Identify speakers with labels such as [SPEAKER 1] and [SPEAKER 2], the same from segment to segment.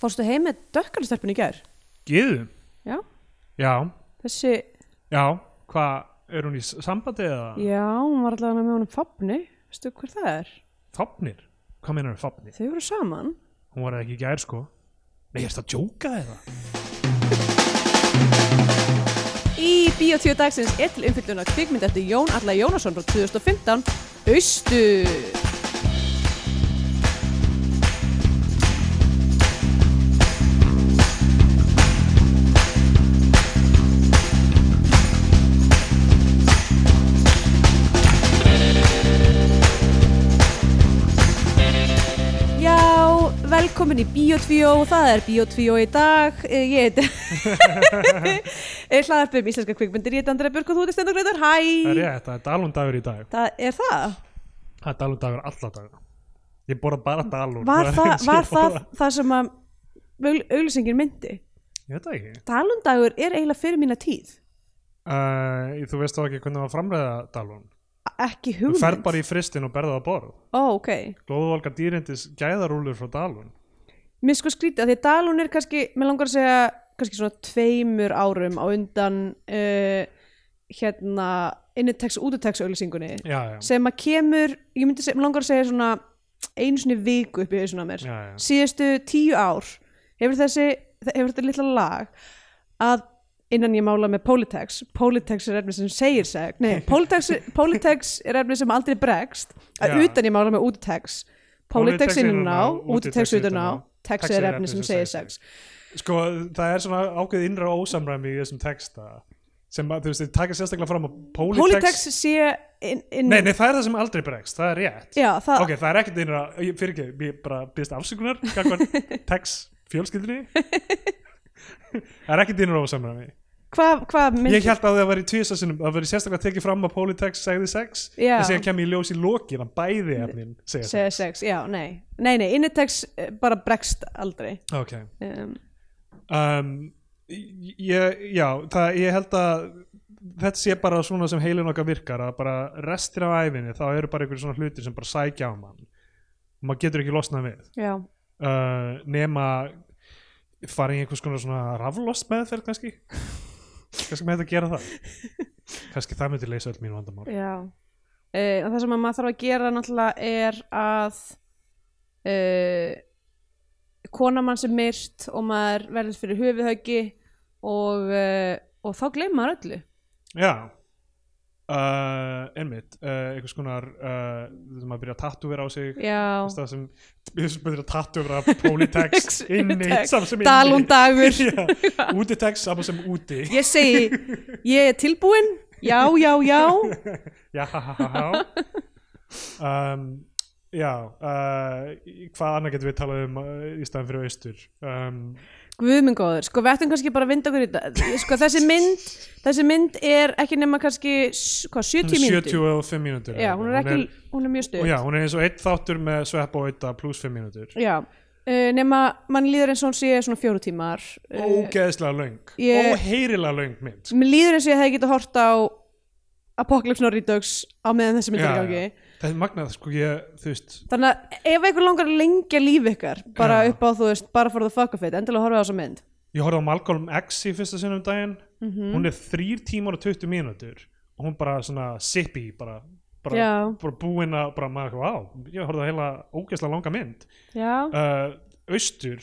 [SPEAKER 1] Fórstu heim með dökkarstelpun í gær?
[SPEAKER 2] Gíðum?
[SPEAKER 1] Já.
[SPEAKER 2] Já,
[SPEAKER 1] Þessi,
[SPEAKER 2] já, hvað, er hún í s- sambandi eða
[SPEAKER 1] já, hún var allavega með honum fapni, veistu hver það er?
[SPEAKER 2] þopnir? Hvað meinar við þopnir?
[SPEAKER 1] Þau voru saman.
[SPEAKER 2] Hún var það ekki í gær sko. Nei, erstu að djóka eða?
[SPEAKER 1] Í Bíotvíu dagsins er til umfylgdunar kvikmynd eftir Jón Alla Jónasson frá 2015, Austur. Já, velkomin í Bíotvíó, það er Bíotvíó í dag, Eh, ég heiti hlaðarpið um íslenska kvikmyndir, ég heiti Andrea Björk og þú heiti Stendur Greitar,
[SPEAKER 2] Það er
[SPEAKER 1] hæ!
[SPEAKER 2] rétt, það er dalundagur í dag.
[SPEAKER 1] Það er það?
[SPEAKER 2] Það er dalundagur alla dagina. Ég borða bara dalun.
[SPEAKER 1] Var
[SPEAKER 2] Það er
[SPEAKER 1] það,
[SPEAKER 2] eins og
[SPEAKER 1] var
[SPEAKER 2] ég
[SPEAKER 1] það,
[SPEAKER 2] borða.
[SPEAKER 1] það sem að augl- auglýsingin myndi?
[SPEAKER 2] Ég veit það ekki.
[SPEAKER 1] Dalundagur er eiginlega fyrir mína tíð,
[SPEAKER 2] Uh, þú veist þá ekki hvernig maður framræða dalun.
[SPEAKER 1] ekki
[SPEAKER 2] Þú
[SPEAKER 1] hugmynd.
[SPEAKER 2] ferð bara í fristin og berða það borð.
[SPEAKER 1] Ó, ok.
[SPEAKER 2] Glóðvolgar dýrindis gæðarúlur frá dalun.
[SPEAKER 1] Mér sko skrítið að því að Dalun er kannski, mér langar að segja, kannski svona tveimur árum á undan uh, hérna innitex og útitex auglýsingunni
[SPEAKER 2] Já, já.
[SPEAKER 1] sem að kemur, ég myndi seg, langar að segja svona einu sinni viku upp í hausuna mér
[SPEAKER 2] Já, já.
[SPEAKER 1] síðustu tíu ár hefur þessi, hefur þetta litla lag að innan ég mála með Politex, Politex er efni sem segir seg, nei, Politex, Politex er efni sem aldrei bregst að
[SPEAKER 2] Já.
[SPEAKER 1] utan ég mála með Útitex Politex innan á, Útitex utan á Tex er efni sem segir sex
[SPEAKER 2] Sko, það er svona ákveð innra ósamræmi í þessum texta sem að, þú veist, þið taka sérstaklega fram að Politex,
[SPEAKER 1] Politex sé inn, inn
[SPEAKER 2] Nei, nei, það er það sem aldrei bregst, það er rétt
[SPEAKER 1] já, það,
[SPEAKER 2] Ok, það er ekkert innra, ég fyrir ekki ég bara byrst afsökunar, kakvar Tex fjölskyldri Það er ekkert innra ósamræmi
[SPEAKER 1] hvað hva
[SPEAKER 2] Ég held að það væri tvísa sinnum, það væri sérstaklega tekið fram að Politex segði sex
[SPEAKER 1] Já.
[SPEAKER 2] en síðan kem ég í ljós í lokin að bæði efnin segja
[SPEAKER 1] segja
[SPEAKER 2] sex
[SPEAKER 1] sex, já, nei nei, nei, innitex eh, bara bregst aldrei
[SPEAKER 2] Ok,
[SPEAKER 1] um,
[SPEAKER 2] um, ég, já, það, ég held að þetta sé bara svona sem heilin okkar virkar að bara restir af æfinni þá eru bara einhverjum svona hlutir sem bara sækja á mann og maður getur ekki losnað við
[SPEAKER 1] já,
[SPEAKER 2] uh, nema fara í einhvers konar svona raflost meðferð kannski kannski með þetta gera það kannski það myndi leysa öll mín vandamál
[SPEAKER 1] já uh, það sem að maður þarf að gera náttúrulega er að uh, kona mann sem myrt og maður verður fyrir höfuðhauki og, uh, og þá gleymir maður öllu
[SPEAKER 2] já uh, einmitt, uh, einhvers konar uh, þegar maður byrja að tattúvera á sig
[SPEAKER 1] já,
[SPEAKER 2] Þess það sem við sem byrjum að tattúra politex inni,
[SPEAKER 1] Tex,
[SPEAKER 2] saman sem inni
[SPEAKER 1] dalun dagur
[SPEAKER 2] Já, útitex, saman sem úti
[SPEAKER 1] ég segi, ég er tilbúin já, já, já
[SPEAKER 2] já, ha, ha, ha, ha. Um, já uh, hvað annað getum við talað um uh, í staðan fyrir austur um,
[SPEAKER 1] Guðmengóður, sko við ættum kannski bara að vinda okkur í þetta sko þessi mynd, þessi mynd er ekki nema kannski, s- hvað, 70 mínútur
[SPEAKER 2] 75 mínútur
[SPEAKER 1] já, hún er ekki, hún er mjög
[SPEAKER 2] og
[SPEAKER 1] stuð
[SPEAKER 2] já, hún er eins og eitt þáttur með svepp og auða pluss 5 mínútur
[SPEAKER 1] já. Uh, nema mann líður eins og hún sé svona fjóru tímar uh,
[SPEAKER 2] ógeðslega löng,
[SPEAKER 1] ég-
[SPEAKER 2] óheyrilega löng mynd sko.
[SPEAKER 1] mér líður eins og ég hefði getað hort á Apocalypse Now Redux á meðan þessi mynd er í
[SPEAKER 2] Já,
[SPEAKER 1] gangi
[SPEAKER 2] já. það er magnað, sko, ég, þú veist
[SPEAKER 1] þannig að ef einhver langar að lengja líf ykkar bara
[SPEAKER 2] Já.
[SPEAKER 1] upp á þú veist, bara for the fuck of it endilega horfa á þessa mynd Mhm.
[SPEAKER 2] ég horfði á Malcolm X í fyrsta sinum daginn hún er þrýr tímar og 20 mínútur og hún bara svona sippy bara,
[SPEAKER 1] Já.
[SPEAKER 2] bara, bara búin að bara maður, wow, ég horfði á heila ógeðslega langa mynd
[SPEAKER 1] já,
[SPEAKER 2] uh, austur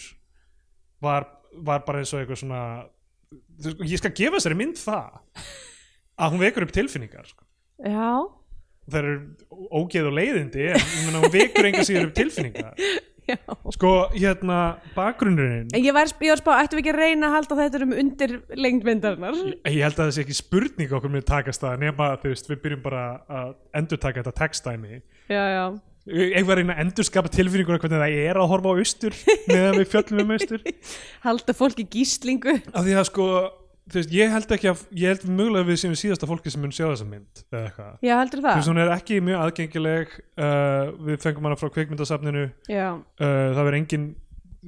[SPEAKER 2] var, var bara eins og eitthvað svona þú veist, ég skal gefa þessari mynd það að hún vekur upp tilfinningar sko.
[SPEAKER 1] já,
[SPEAKER 2] það eru ógeð og leiðindi en ég meina, hún vekur enga síður upp tilfinningar
[SPEAKER 1] já
[SPEAKER 2] sko hérna bakgrunnurinn
[SPEAKER 1] En ég var, ég var að spá, ættum við ekki að reyna að halda þetta um undir lengdmyndarinnar?
[SPEAKER 2] Ég held að það sé ekki spurning okkur með takast það nema þú veist, við byrjum bara að endurtaka þetta textæmi
[SPEAKER 1] Já, já.
[SPEAKER 2] einhver reyna að endurskapa tilfinninguna hvernig það er að horfa á austur meðan við fjöllum um austur
[SPEAKER 1] Halda fólki í gíslingu.
[SPEAKER 2] af því að sko, þú veist, ég held ekki að ég held mögulega að við séum síðasta fólki sem mun sjá þessa mynd eða eitthvað,
[SPEAKER 1] Já, heldur
[SPEAKER 2] þú
[SPEAKER 1] það?
[SPEAKER 2] veist, hún er ekki mjög aðgengileg uh, við fengum hana frá kveikmyndasafninu uh,
[SPEAKER 1] Já,
[SPEAKER 2] það verður engin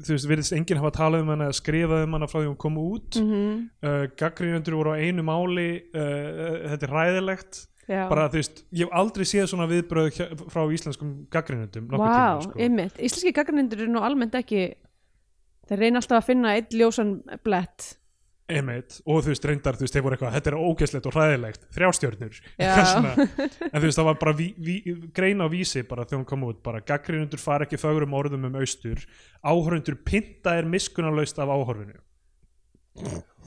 [SPEAKER 2] þú veist, virðist enginn hafa talað um hana eða skrifað um hana frá því hún kom út mm
[SPEAKER 1] Mhm.
[SPEAKER 2] uh, gaggrínendur voru á einu máli uh, þetta er ræðilegt
[SPEAKER 1] já.
[SPEAKER 2] bara þú veist, ég hef aldrei séð svona viðbröð hjá- frá íslenskum
[SPEAKER 1] Vá,
[SPEAKER 2] gaggrinundum wow, tíma, sko.
[SPEAKER 1] einmitt. Íslenski gagnendur eru nú almennt ekki, þeir reyna alltaf að finna einn ljósan blett
[SPEAKER 2] einmitt, og þú veist reyndar, þú veist, þeir voru eitthvað þetta er ógeðslegt og hræðilegt, þrjástjörnur
[SPEAKER 1] Já.
[SPEAKER 2] eitthvað svona. en þú veist, það var bara ví, ví, grein á vísi bara þegar hún kom út bara gaggrinundur fara ekki fögrum orðum um austur áhörundur pinta er miskunarlaust af áhörfinu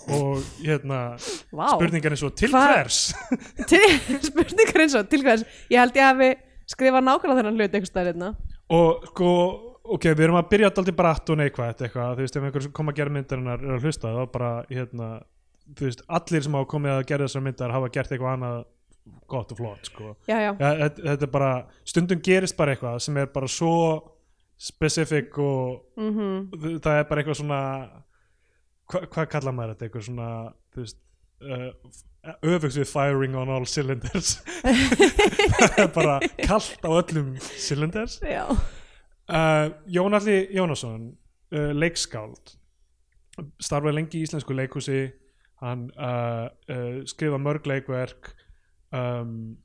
[SPEAKER 2] og hérna
[SPEAKER 1] Vá.
[SPEAKER 2] spurningar eins og til
[SPEAKER 1] Hva-
[SPEAKER 2] hvers
[SPEAKER 1] Til- spurningar eins og til hvers ég held ég hafi skrifað nákvæmlega þennan hlut einhvers staðar hérna
[SPEAKER 2] og sko, ok, við erum að byrja alltaf bratt og neikvætt eitthvað, þú veist, ef einhver sem kom að gera myndarinnar er að hlusta, þá bara, hérna þú veist, allir sem hafa komið að gera þessar myndar hafa gert eitthvað annað gott og flott, sko
[SPEAKER 1] já, já,
[SPEAKER 2] ja, þetta- þetta er bara, stundum gerist bara eitthvað sem er bara svo specific og
[SPEAKER 1] Mhm.
[SPEAKER 2] þ- það er bara eitthvað svona hva, hvað kallar maður þetta, eitthvað svona þú veist uh, öfugs við firing on all cylinders það er bara kalt á öllum cylinders
[SPEAKER 1] já.
[SPEAKER 2] uh, Jón Alli Jónasson uh, leikskáld starfaði lengi í íslensku leikhúsi hann uh, uh, skrifa mörg leikverk um,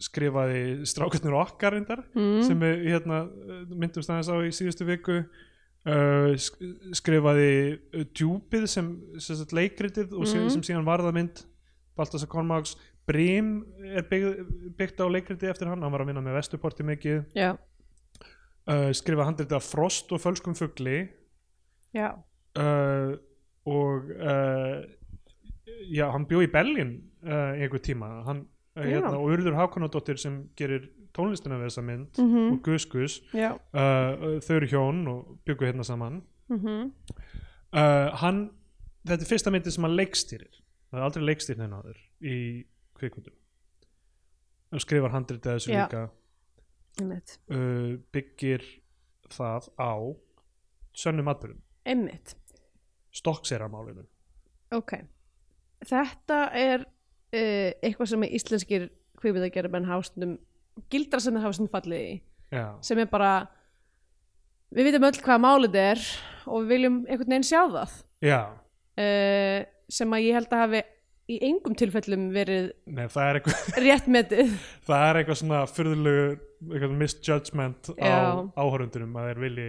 [SPEAKER 2] skrifaði strákarnir okkar reyndar
[SPEAKER 1] Mm.
[SPEAKER 2] sem við hérna, uh, myndumst aðeins á í síðustu viku uh, sk- skrifaði uh, djúpið sem, sem sagt, leikritið og mm.
[SPEAKER 1] Mhm.
[SPEAKER 2] sem síðan varða mynd Baltasar Kormáks Brim er bygg, byggt á leikritið eftir hann, hann var að vinna með Vesturporti mikið
[SPEAKER 1] já,
[SPEAKER 2] uh, skrifa handriti af Frost og Fölskum fugli
[SPEAKER 1] já
[SPEAKER 2] uh, og uh, já, hann bjó í Berlín uh, í einhver tíma hann, uh,
[SPEAKER 1] Já.
[SPEAKER 2] hérna, og Urður Hákonadóttir sem gerir tónlistina við þessa mynd
[SPEAKER 1] Mhm.
[SPEAKER 2] og Gus Gus
[SPEAKER 1] já,
[SPEAKER 2] uh, uh, þau eru hjón og byggu hérna saman
[SPEAKER 1] Mhm.
[SPEAKER 2] uh, hann, þetta er fyrsta myndi sem hann leikstýrir það er aldrei leikstýrn henni áður í kvikmyndum hann skrifar handritið að þessu
[SPEAKER 1] Já.
[SPEAKER 2] líka
[SPEAKER 1] einmitt
[SPEAKER 2] uh, byggir það á sönnum atbyrðum,
[SPEAKER 1] einmitt,
[SPEAKER 2] stokksera málinu
[SPEAKER 1] ok þetta er uh, eitthvað sem íslenskir kvikmyndagerðar menn hástundum gildra sem þeir hafa stundum fallið í
[SPEAKER 2] já,
[SPEAKER 1] sem er bara við vitum öll hvað málið er og við viljum einhvern veginn sjá það
[SPEAKER 2] já.
[SPEAKER 1] uh, sem að ég held að hafi í engum tilfellum verið
[SPEAKER 2] Nei, það, er eitthvað,
[SPEAKER 1] rétt metið
[SPEAKER 2] það er eitthvað svona fyrðulegu eitthvað misjudgment á
[SPEAKER 1] Já.
[SPEAKER 2] áhörundunum að þeir vilji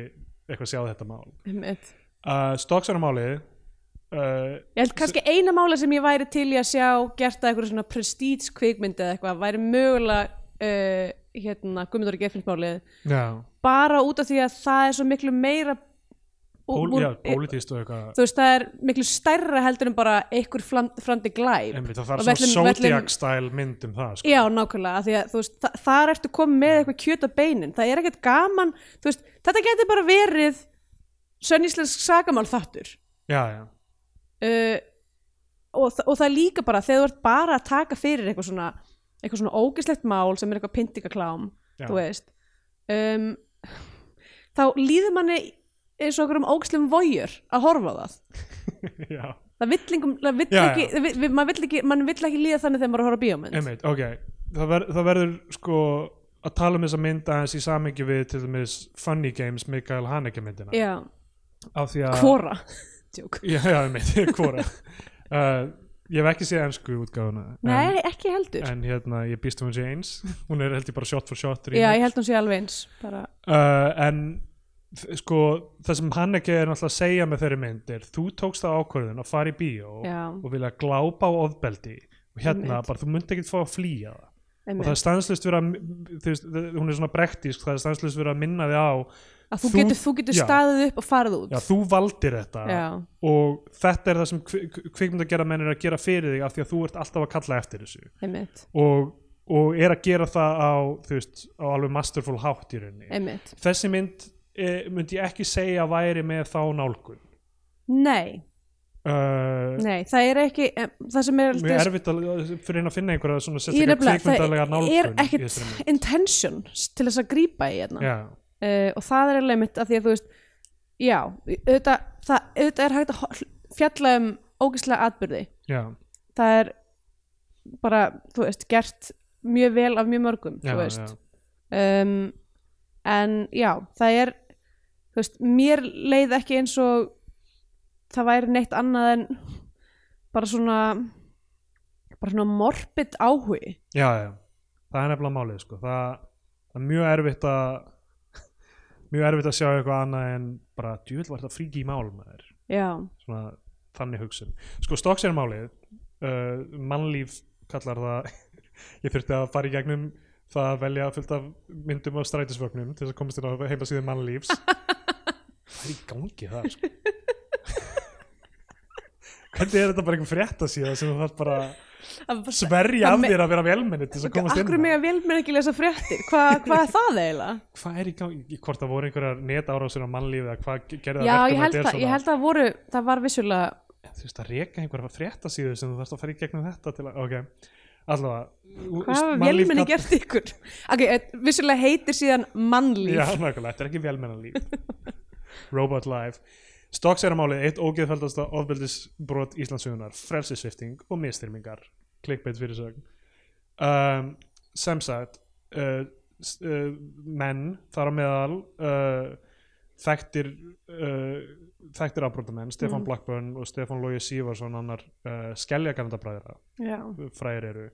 [SPEAKER 2] eitthvað sjá þetta mál
[SPEAKER 1] Einmitt.
[SPEAKER 2] uh, stokksera málið uh,
[SPEAKER 1] ég held kannski eina mála sem ég væri til í að sjá gert að eitthvað svona prestige kvikmynd eða eitthvað væri mögulega uh, hérna Guðmundur og Gefinsmálið
[SPEAKER 2] já,
[SPEAKER 1] bara út af því að það er svo miklu meira
[SPEAKER 2] pól,
[SPEAKER 1] úr-
[SPEAKER 2] já, pólitíst og eitthvað
[SPEAKER 1] þú veist það er miklu stærra heldur en bara einhver flam- frandi glæp
[SPEAKER 2] Einmitt, það þarf
[SPEAKER 1] Og
[SPEAKER 2] svona
[SPEAKER 1] vellum- vellum-
[SPEAKER 2] Zodiac style mynd um það sko.
[SPEAKER 1] Já, nákvæmlega, af því að þú veist, þa þar ertu komið með eitthvað kjöt á beinin, það er ekkert gaman, þú veist, þetta geti bara verið sönníslensk sagamál þáttur
[SPEAKER 2] já, já,
[SPEAKER 1] uh, og, þa- og það er líka bara þegar þú ert bara að taka fyrir eitthvað svona, eitthvað svona ógislegt mál sem er eitthvað pyntingaklám,
[SPEAKER 2] Já.
[SPEAKER 1] þú veist, um, þá líður manni eins og okkur um ógislum vojur að horfa á það.
[SPEAKER 2] já.
[SPEAKER 1] Það vill, engum, það vill
[SPEAKER 2] Já, já.
[SPEAKER 1] ekki, það vill, við- maður vill ekki, mann vill ekki líða þannig þegar maður er að horfa á bíómynd.
[SPEAKER 2] Einmitt, ok, það, ver, það verður sko að tala um þessa mynd aðeins í samingi við til dæmis Funny Games Mikael Haneke myndina
[SPEAKER 1] Já,
[SPEAKER 2] af því að
[SPEAKER 1] hvora. Djók.
[SPEAKER 2] já, já, einmitt, hvora uh, ég hef ekki séð ennsku útgáfuna en,
[SPEAKER 1] Nei, ekki heldur.
[SPEAKER 2] en hérna ég býst um hún sé eins hún er held ég bara shot for shot
[SPEAKER 1] Já,
[SPEAKER 2] remake.
[SPEAKER 1] ég held hún sé alveg eins bara,
[SPEAKER 2] uh, en f- sko það sem Haneke er náttúrulega að segja með þeirri mynd er þú tókst það ákvörðun að fara í bíó
[SPEAKER 1] Já.
[SPEAKER 2] og vilja glápa á ofbeldi og hérna
[SPEAKER 1] Einmitt.
[SPEAKER 2] bara þú munt ekkert fá að flýja það og það er
[SPEAKER 1] einmitt,
[SPEAKER 2] stanslust verið að þú veist, hún er svona brektísk, það er stanslust verið að minna þig á,
[SPEAKER 1] að þú
[SPEAKER 2] þú-
[SPEAKER 1] getur, þú getur
[SPEAKER 2] já.
[SPEAKER 1] staðið upp og farið út
[SPEAKER 2] já þú valdir þetta
[SPEAKER 1] Já,
[SPEAKER 2] og þetta er það sem kvikmynd að gera menn er að gera fyrir þig af því að þú ert alltaf að kalla eftir þessu
[SPEAKER 1] einmitt,
[SPEAKER 2] og, og er að gera það á, þú veist, á alveg masterful hátt í rauninni
[SPEAKER 1] einmitt
[SPEAKER 2] þessi mynd e, myndi ég ekki segja að væri með þá nálgun
[SPEAKER 1] Nei,
[SPEAKER 2] uh,
[SPEAKER 1] nei, það er ekki em, það sem er
[SPEAKER 2] mjög erfitt að, fyrir henn að finna einhverja svona
[SPEAKER 1] ég
[SPEAKER 2] sérstaklega
[SPEAKER 1] nefnilega,
[SPEAKER 2] kvikmyndalega
[SPEAKER 1] það
[SPEAKER 2] nálgun
[SPEAKER 1] er
[SPEAKER 2] í
[SPEAKER 1] ekkit
[SPEAKER 2] þessari mynd.
[SPEAKER 1] intention til þess að grípa í hérna
[SPEAKER 2] já,
[SPEAKER 1] uh, og það er alveg mitt að því að þú veist já, auðvitað, það, auðvitað er hægt að hol- fjalla um ógislega atbyrði
[SPEAKER 2] já,
[SPEAKER 1] það er bara, þú veist, gert mjög vel af mjög mörgum,
[SPEAKER 2] já,
[SPEAKER 1] þú veist
[SPEAKER 2] já.
[SPEAKER 1] um, en já, það er þú veist, mér leið ekki eins og það væri neitt annað en bara svona bara svona morbid áhugi
[SPEAKER 2] já, já, það er nefnilega málið sko. það, það er mjög erfitt að mjög erfitt að sjá eitthvað annað en bara djúvill var þetta fríki í málum að þér
[SPEAKER 1] já,
[SPEAKER 2] svona þannig hugsun sko Stokks er málið uh, mannlíf kallar það ég þurfti að fara í gegnum það að velja fullt af myndum á strætisvögnum til þess að komast inn á heimasíðu mannlífs hvað er í gangi það sko? hvernig er þetta bara einhver frétta síðan sem þú þarf bara
[SPEAKER 1] það
[SPEAKER 2] sverja
[SPEAKER 1] Það
[SPEAKER 2] af
[SPEAKER 1] me-
[SPEAKER 2] þér að vera velmenni til þess að komast inn
[SPEAKER 1] akkur
[SPEAKER 2] á?
[SPEAKER 1] með að vel með ekki lesa fréttir Hva, hvað er það eiginlega?
[SPEAKER 2] hvað er í gangi, hvort það voru einhverjar netárásir á mannlífið eða hvað gerði
[SPEAKER 1] já,
[SPEAKER 2] það
[SPEAKER 1] ég
[SPEAKER 2] verkum að
[SPEAKER 1] held,
[SPEAKER 2] þetta er
[SPEAKER 1] að, ég
[SPEAKER 2] svona
[SPEAKER 1] held að voru það var vissulega
[SPEAKER 2] þú veist að reka einhverja fréttasíðu sem þú þarfst að fara í gegnum þetta til að, ok, allavega
[SPEAKER 1] hvað hafa velmenni gert ykkur? ok, eh, vissulega heitir síðan mannlíf
[SPEAKER 2] Já, nákvæmlega, þetta er ekki velmennalíf Robot Life Stokks er að málið eitt ógeðfældasta ofbeldisbrot Íslandsögunar, frelsisvifting og mistyrmingar, clickbait fyrir sögn um, sem sagt uh, s- uh, menn þar á meðal uh, þekktir uh, þekktir afbrotamenn, Stefán
[SPEAKER 1] Mm.
[SPEAKER 2] Blackburn og Stefán Lógi Sívarsson annar uh, skelljagarndabræðra
[SPEAKER 1] já,
[SPEAKER 2] fræðir eru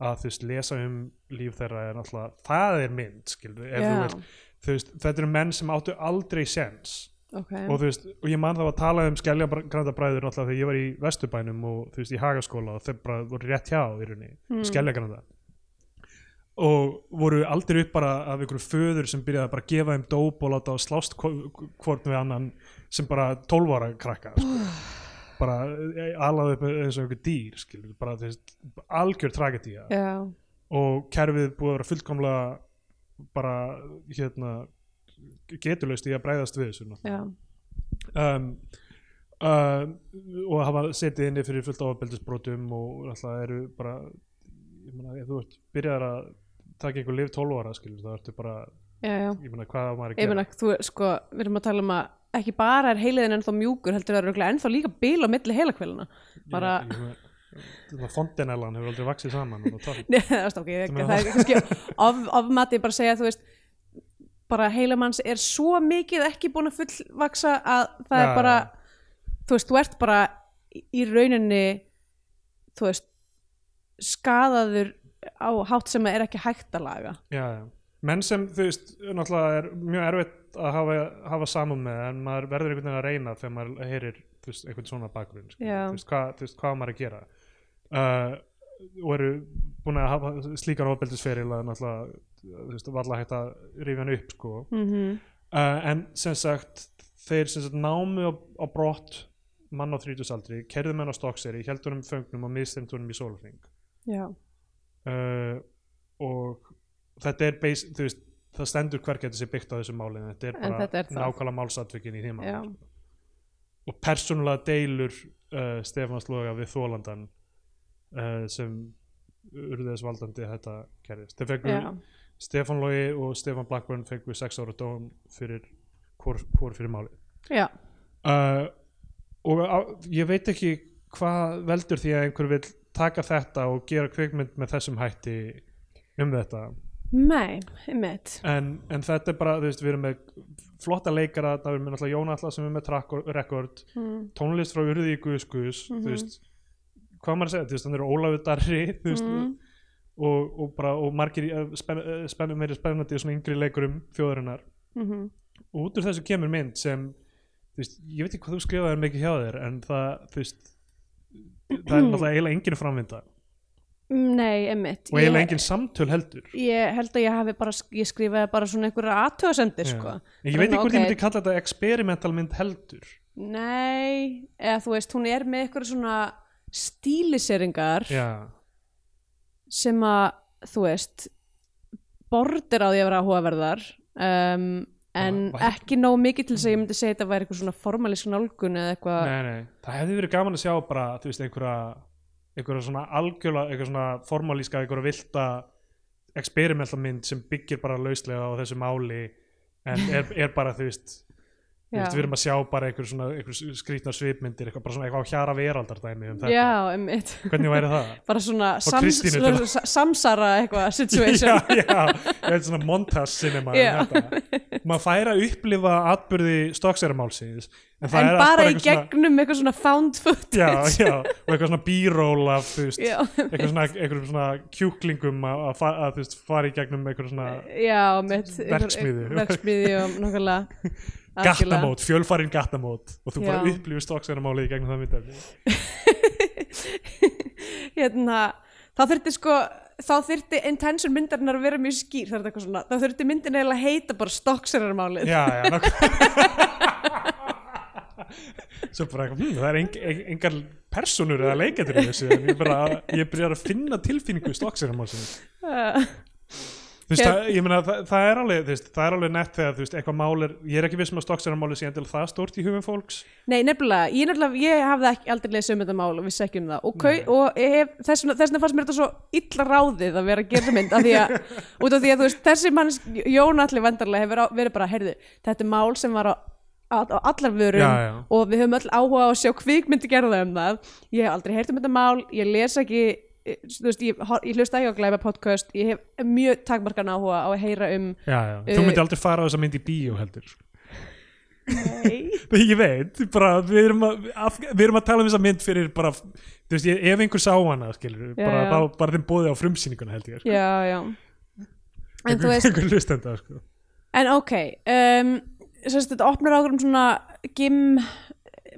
[SPEAKER 2] að þú veist lesa um líf þeirra er náttúrulega, það er mynd skilur, ef þú
[SPEAKER 1] já,
[SPEAKER 2] vilt, þú veist, þetta eru menn sem áttu aldrei sens
[SPEAKER 1] ok
[SPEAKER 2] og þú veist, og ég man það var að tala um skeljagrandabræður náttúrulega þegar ég var í Vesturbænum og þú veist, í Hagaskóla og þeir bara voru rétt hjá í rauninni,
[SPEAKER 1] Mm.
[SPEAKER 2] mm. og voru aldrei upp bara af einhverju föður sem byrjaði að bara gefa þeim dóp og láta á slást hvo- hvort við annan sem bara 12 ára krakka sko. bara eh, alaði upp eins og einhver dýr skilur, bara þú veist, algjör tragedía
[SPEAKER 1] já,
[SPEAKER 2] og kerfið búið að vera fullkomlega bara hérna getulöst í að bræðast við þessu náttúrulega.
[SPEAKER 1] já,
[SPEAKER 2] um, uh, og hafa setið inni fyrir fullt áfbeldisbrotum og alltaf eru bara ég meina, ef þú ert byrjaðar að taka einhver lif 12 ára skilur, þá ertu bara,
[SPEAKER 1] já, já
[SPEAKER 2] ég meina, hvað á maður að
[SPEAKER 1] Ég
[SPEAKER 2] gera
[SPEAKER 1] meina, þú, sko, við erum að tala um að ekki bara er heiliðin ennþá mjúkur, heldur það eru ennþá líka bíl á milli heilakvelina. bara-
[SPEAKER 2] Ég meina, ég meina, fontenellan hefur aldrei vaksið saman og það-
[SPEAKER 1] Nei, það er stokkið, ég-
[SPEAKER 2] Þú meinar
[SPEAKER 1] það er kannski of, ofmati bara að segja, þú veist, bara heilamanns er svo mikið ekki búin að fullvaksa að það
[SPEAKER 2] Já,
[SPEAKER 1] er bara, þú veist, þú ert bara í- í rauninni, þú veist, skadaður á hátt sem er ekki hægt að laga.
[SPEAKER 2] já, já. menn sem þú veist náttúrulega er mjög erfitt að hafa, hafa samum með en maður verður einhvern veginn að reyna þegar maður heyrir þú veist, einhvern svona bakgrunn skilur,
[SPEAKER 1] Já.
[SPEAKER 2] þú veist, hvað, þú veist, hvað á maður að gera uh, og eru búin að hafa slíkar ofbeldisferil að náttúrulega þú veist, varla hægt að rifja hann upp sko.
[SPEAKER 1] Mm
[SPEAKER 2] uh, en sem sagt þeir sem sagt námu á, á brott mann á þrítusaldri, kerðu menn á stokkseri heldur um föngnum og miðstendur um í sólarfing
[SPEAKER 1] Já,
[SPEAKER 2] uh, og þetta er base, þú veist, það stendur hver getur sér byggt á þessu máli en þetta er
[SPEAKER 1] En
[SPEAKER 2] bara
[SPEAKER 1] þetta er það.
[SPEAKER 2] nákvæmlega málsatvikin í því
[SPEAKER 1] já,
[SPEAKER 2] máli sko. og persónulega deilur uh, Stefans Loga við Þólandan uh, sem urðu þess valdandi að þetta gerðist Þeir fengu-
[SPEAKER 1] já,
[SPEAKER 2] Stefán Logi og Stefán Blackburn fengu sex ára dóm fyrir hvor, hvor fyrir máli
[SPEAKER 1] já,
[SPEAKER 2] uh, og á, ég veit ekki hvað veldur því að einhver vill taka þetta og gera kvikmynd með þessum hætti um þetta
[SPEAKER 1] nei, einmitt,
[SPEAKER 2] en, en þetta er bara, þú veist, við erum með flotta leikara, það erum við náttúrulega Jón Atla sem er með track record,
[SPEAKER 1] mm,
[SPEAKER 2] tónlist frá Urði í Guðskus,
[SPEAKER 1] Mhm.
[SPEAKER 2] þú veist hvað á maður að segja, þú veist, hann er Ólafur Darri þú veist,
[SPEAKER 1] Mhm.
[SPEAKER 2] og, og bara og margir í- spenn, spenn, meiri spennandi og svona yngri leikurum þjóðarinnar
[SPEAKER 1] mhm.
[SPEAKER 2] og út úr þessu kemur mynd sem þú veist, ég veit ekki hvað þú skrifaði mikið hjá þér en það, þú veist það er náttúrulega eiginlega engin framvinda
[SPEAKER 1] Nei, einmitt
[SPEAKER 2] og eiginlega engin samtöl heldur
[SPEAKER 1] ég held að ég hafi bara sk- ég skrifaði bara svona einhverja aðtöðasendir
[SPEAKER 2] Já.
[SPEAKER 1] sko.
[SPEAKER 2] en ég veit ekki
[SPEAKER 1] Þannig,
[SPEAKER 2] hvort ég
[SPEAKER 1] ok.
[SPEAKER 2] myndi kalla þetta experimental mynd heldur
[SPEAKER 1] Nei, eða þú veist hún er með einhverja svona stíliseringar
[SPEAKER 2] já,
[SPEAKER 1] sem að þú veist bordir á því að vera áhugaverðar um, en
[SPEAKER 2] Það var-
[SPEAKER 1] ekki nóg mikið til þess að ég myndi segja þetta væri eitthvað svona formalísk nálgun eða eitthvað
[SPEAKER 2] nei, nei, það hefði verið gaman að sjá bara, þú veist, einhverja einhverja svona algjörlega, einhverja svona formalíska, einhverja vilta experimental mynd sem byggir bara lauslega á þessu máli en er, er bara, þú veist Þú veist,
[SPEAKER 1] Já.
[SPEAKER 2] við erum að sjá bara einhver svona einhver skrýtna svipmyndir, eitthvað, bara svona eitthvað á hjara veraldar dæmi um þetta,
[SPEAKER 1] já, einmitt
[SPEAKER 2] hvernig væri það?
[SPEAKER 1] bara svona sams,
[SPEAKER 2] Kristínu til að-
[SPEAKER 1] sa- samsara eitthvað situation
[SPEAKER 2] já, já, ég veit svona montage cinema en
[SPEAKER 1] Já.
[SPEAKER 2] þetta. maður fær að upplifa atbyrði stokksæramálsins en
[SPEAKER 1] en
[SPEAKER 2] það er
[SPEAKER 1] bara í
[SPEAKER 2] allt
[SPEAKER 1] gegnum eitthvað svona found
[SPEAKER 2] svona,
[SPEAKER 1] footage
[SPEAKER 2] já, já, og eitthvað svona b-roll af þú veist,
[SPEAKER 1] Já,
[SPEAKER 2] eitthvað svona, eitthvað svona kjúklingum að, að, fa- að þú veist, fara í gegnum eitthvað svona
[SPEAKER 1] já, mitt einhver-
[SPEAKER 2] Verksmiðju.
[SPEAKER 1] verksmiðju og nokkulega
[SPEAKER 2] gattamót, fjölfarinn gattamót og þú bara
[SPEAKER 1] Já.
[SPEAKER 2] upplifir stokksæramálið í gegnum það myndafni
[SPEAKER 1] hérna, þá þurfti sko þá þurfti intention myndarinnar að vera mjög skýr það er eitthvað svona, þá þurfti myndin eiginlega að heita bara stokksararmálið
[SPEAKER 2] já, já, nokkuð svo bara eitthvað, hm, það er eng, eng, engar personur eða leikendur í þessu en ég, bara, ég byrjar að finna tilfinningu í stokksæramálsins
[SPEAKER 1] Uh,
[SPEAKER 2] Þú veist,
[SPEAKER 1] Ég-
[SPEAKER 2] það, ég meina, það, það er alveg, þú veist, það er alveg nett þegar, þú veist, eitthvað mál er, ég er ekki viss um að stokksæramálið sé endilega það stórt í hugum fólks.
[SPEAKER 1] nei, nefnilega, ég, nefnilega, ég hafði ekki, aldrei lesið um þetta mál og vissi ekki um það og, kau,
[SPEAKER 2] Nei.
[SPEAKER 1] og hef, þess, vegna- þess vegna fannst mér þetta svo illa ráðið að vera að gera þessa mynd af því að, út af því að þú veist, þessi manns Jón allir vendarlega hefur á, verið bara heyrðu, þetta er mál sem var á, á, á allar vörum
[SPEAKER 2] Já, já.
[SPEAKER 1] og við höfum öll áhuga á að sjá kvikmyndi gerða um það ég hef aldrei heyrt um þetta mál, ég les ekki eh, þú veist, ég, hor- ég hlusta ekki á glæpa podcast ég hef mjög takmarkan áhuga á að heyra um
[SPEAKER 2] Já, já.
[SPEAKER 1] Eh,
[SPEAKER 2] Þú myndi aldrei fara á þessa mynd í bíó heldur.
[SPEAKER 1] Nei.
[SPEAKER 2] Ég veit, bara, við erum að, af, við erum að tala um þessa mynd fyrir bara, þú veist, ég, ef einhver sá hana, skilur,
[SPEAKER 1] Já,
[SPEAKER 2] bara,
[SPEAKER 1] já.
[SPEAKER 2] Þá, bara þeim bóðið á frumsýninguna held ég, sko.
[SPEAKER 1] já, já en þú
[SPEAKER 2] Einhver-
[SPEAKER 1] veist,
[SPEAKER 2] Einhver hlustenda, sko.
[SPEAKER 1] en ok um, sérst, þetta opnar ákveðum svona gim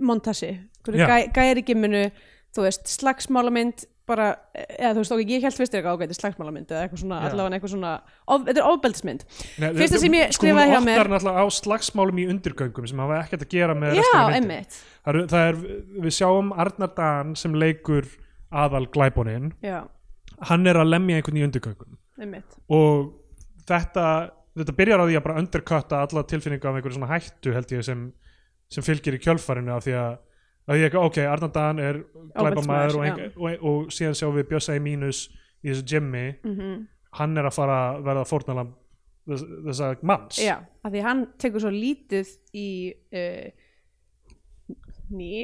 [SPEAKER 1] montasi,
[SPEAKER 2] Já.
[SPEAKER 1] hverju gæ, gæri gimminu þú veist, slagsmálamynd bara, eða þú veist, ok, ég held fyrst er eitthvað ágæti slagsmálamynd eða eitthvað svona,
[SPEAKER 2] Já.
[SPEAKER 1] allavega eitthvað svona of, þetta er ofbeldismynd
[SPEAKER 2] Nei,
[SPEAKER 1] Fyrsta
[SPEAKER 2] þú-
[SPEAKER 1] sem ég
[SPEAKER 2] sko, hún
[SPEAKER 1] skrifaði hjá mér-
[SPEAKER 2] opnar náttúrulega á slagsmálum í undirgöngum sem hafa ekkert að gera með
[SPEAKER 1] já,
[SPEAKER 2] restina af myndinni.
[SPEAKER 1] einmitt
[SPEAKER 2] Það eru- það er, við sjáum Arnar Dan sem leikur aðal glæbónin
[SPEAKER 1] já,
[SPEAKER 2] hann er að lemja einhvern í undirgöngum
[SPEAKER 1] einmitt
[SPEAKER 2] og þetta, þetta byrjar á því að bara underkutta alla tilfinningu af einhverju svona hættu held ég sem, sem fylgir í kjölfarinu af því að, af því að ok, Arnar Dan er glæpamaður
[SPEAKER 1] Ofbeldismaður,
[SPEAKER 2] og, ein, og, og síðan sjáum við Bjössa í mínus í þessu Jimmy,
[SPEAKER 1] mm
[SPEAKER 2] hann er að fara að verða fórnalam þess, þessa manns
[SPEAKER 1] Já, af því hann tekur svo lítið í uh,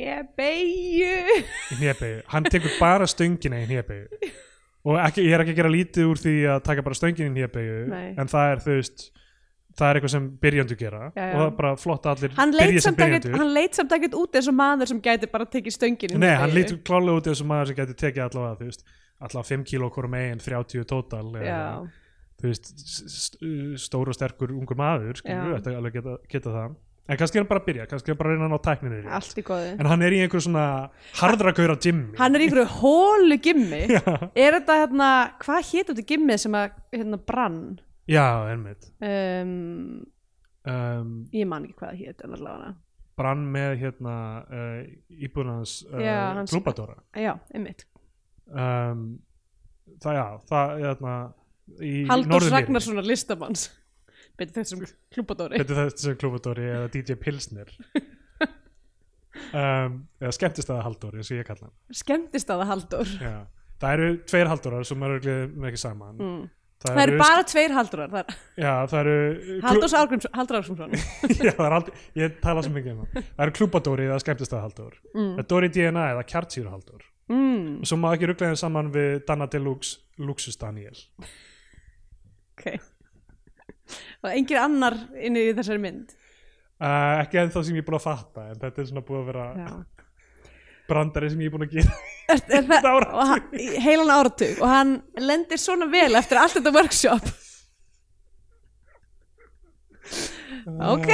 [SPEAKER 1] nýbeigju
[SPEAKER 2] í hnébegi, hann tekur bara stöngina í hnébegi og ekki, ég er ekki að gera lítið úr því að taka bara stöngina í hnébegi
[SPEAKER 1] Nei.
[SPEAKER 2] en það er þú veist það er eitthvað sem byrjandu gera
[SPEAKER 1] Já, já.
[SPEAKER 2] og það er bara flott að allir
[SPEAKER 1] hann leit
[SPEAKER 2] byrja sem
[SPEAKER 1] samt ekkert-
[SPEAKER 2] byrjandur
[SPEAKER 1] hann leit samt ekkert út eins og maður sem gæti bara tekið stöngin
[SPEAKER 2] Nei, hann lítur klálega út eins og maður sem getur tekið allavega þú veist, allavega 5 kíló hvorum eigin 30 tótal
[SPEAKER 1] já,
[SPEAKER 2] þú veist, s- st- stór og sterkur ungur maður, skilur
[SPEAKER 1] Já.
[SPEAKER 2] við, þetta alveg geta, geta það en kannski er hann bara að byrja, kannski er hann bara að reyna að ná tækninni niður í.
[SPEAKER 1] allt í góðu
[SPEAKER 2] en hann er í einhverju svona harðra gauðra Jimmy
[SPEAKER 1] hann er í einhverju hólu gimmi
[SPEAKER 2] já,
[SPEAKER 1] er þetta hérna, hvað hétt þetta gimmið sem að hérna brann
[SPEAKER 2] já, ennmitt
[SPEAKER 1] um,
[SPEAKER 2] um,
[SPEAKER 1] ég man ekki hvað það hétt en allavega
[SPEAKER 2] brann með hérna uh, íbúðunans
[SPEAKER 1] Já,
[SPEAKER 2] uh,
[SPEAKER 1] hans-
[SPEAKER 2] klúbadóra
[SPEAKER 1] já, einmitt,
[SPEAKER 2] um, það já, það hérna í
[SPEAKER 1] Halldórs
[SPEAKER 2] Norðurmýri.
[SPEAKER 1] Ragnarssonar listamanns betur þessum klúpadóri
[SPEAKER 2] Þetta er þetta sem klúbadóri eða DJ Pilsner um, eða skemmtist aða Halldóri eins og ég kalla hann
[SPEAKER 1] skemmtist að það Halldór
[SPEAKER 2] já. það eru tveir Halldórar sem eru örugglega með ekki saman
[SPEAKER 1] Mm.
[SPEAKER 2] það,
[SPEAKER 1] það eru bara tveir Halldórar það er
[SPEAKER 2] já, það eru
[SPEAKER 1] Halldórs Árgríms- Halldór Árgrímsson
[SPEAKER 2] já, það er aldrei, ég tala svo mikið um það það eru klúbadóri eða skemmtist aða Halldór
[SPEAKER 1] Mm.
[SPEAKER 2] það er Dóri DNA eða kjartsýru Halldór
[SPEAKER 1] mm,
[SPEAKER 2] og svo má ekki rugglega þeim saman við Danna Deluxe, Luxus Daniel
[SPEAKER 1] ok og engin annar inni í þessari mynd
[SPEAKER 2] uh, ekki ennþá sem ég er búin að fatta en þetta er svona búin að vera
[SPEAKER 1] já
[SPEAKER 2] brandari sem ég er búin að gera
[SPEAKER 1] er, er það,
[SPEAKER 2] Áratug.
[SPEAKER 1] og hann- í heilan áratug og hann lendir svona vel eftir allt þetta workshop
[SPEAKER 2] Ah.
[SPEAKER 1] ok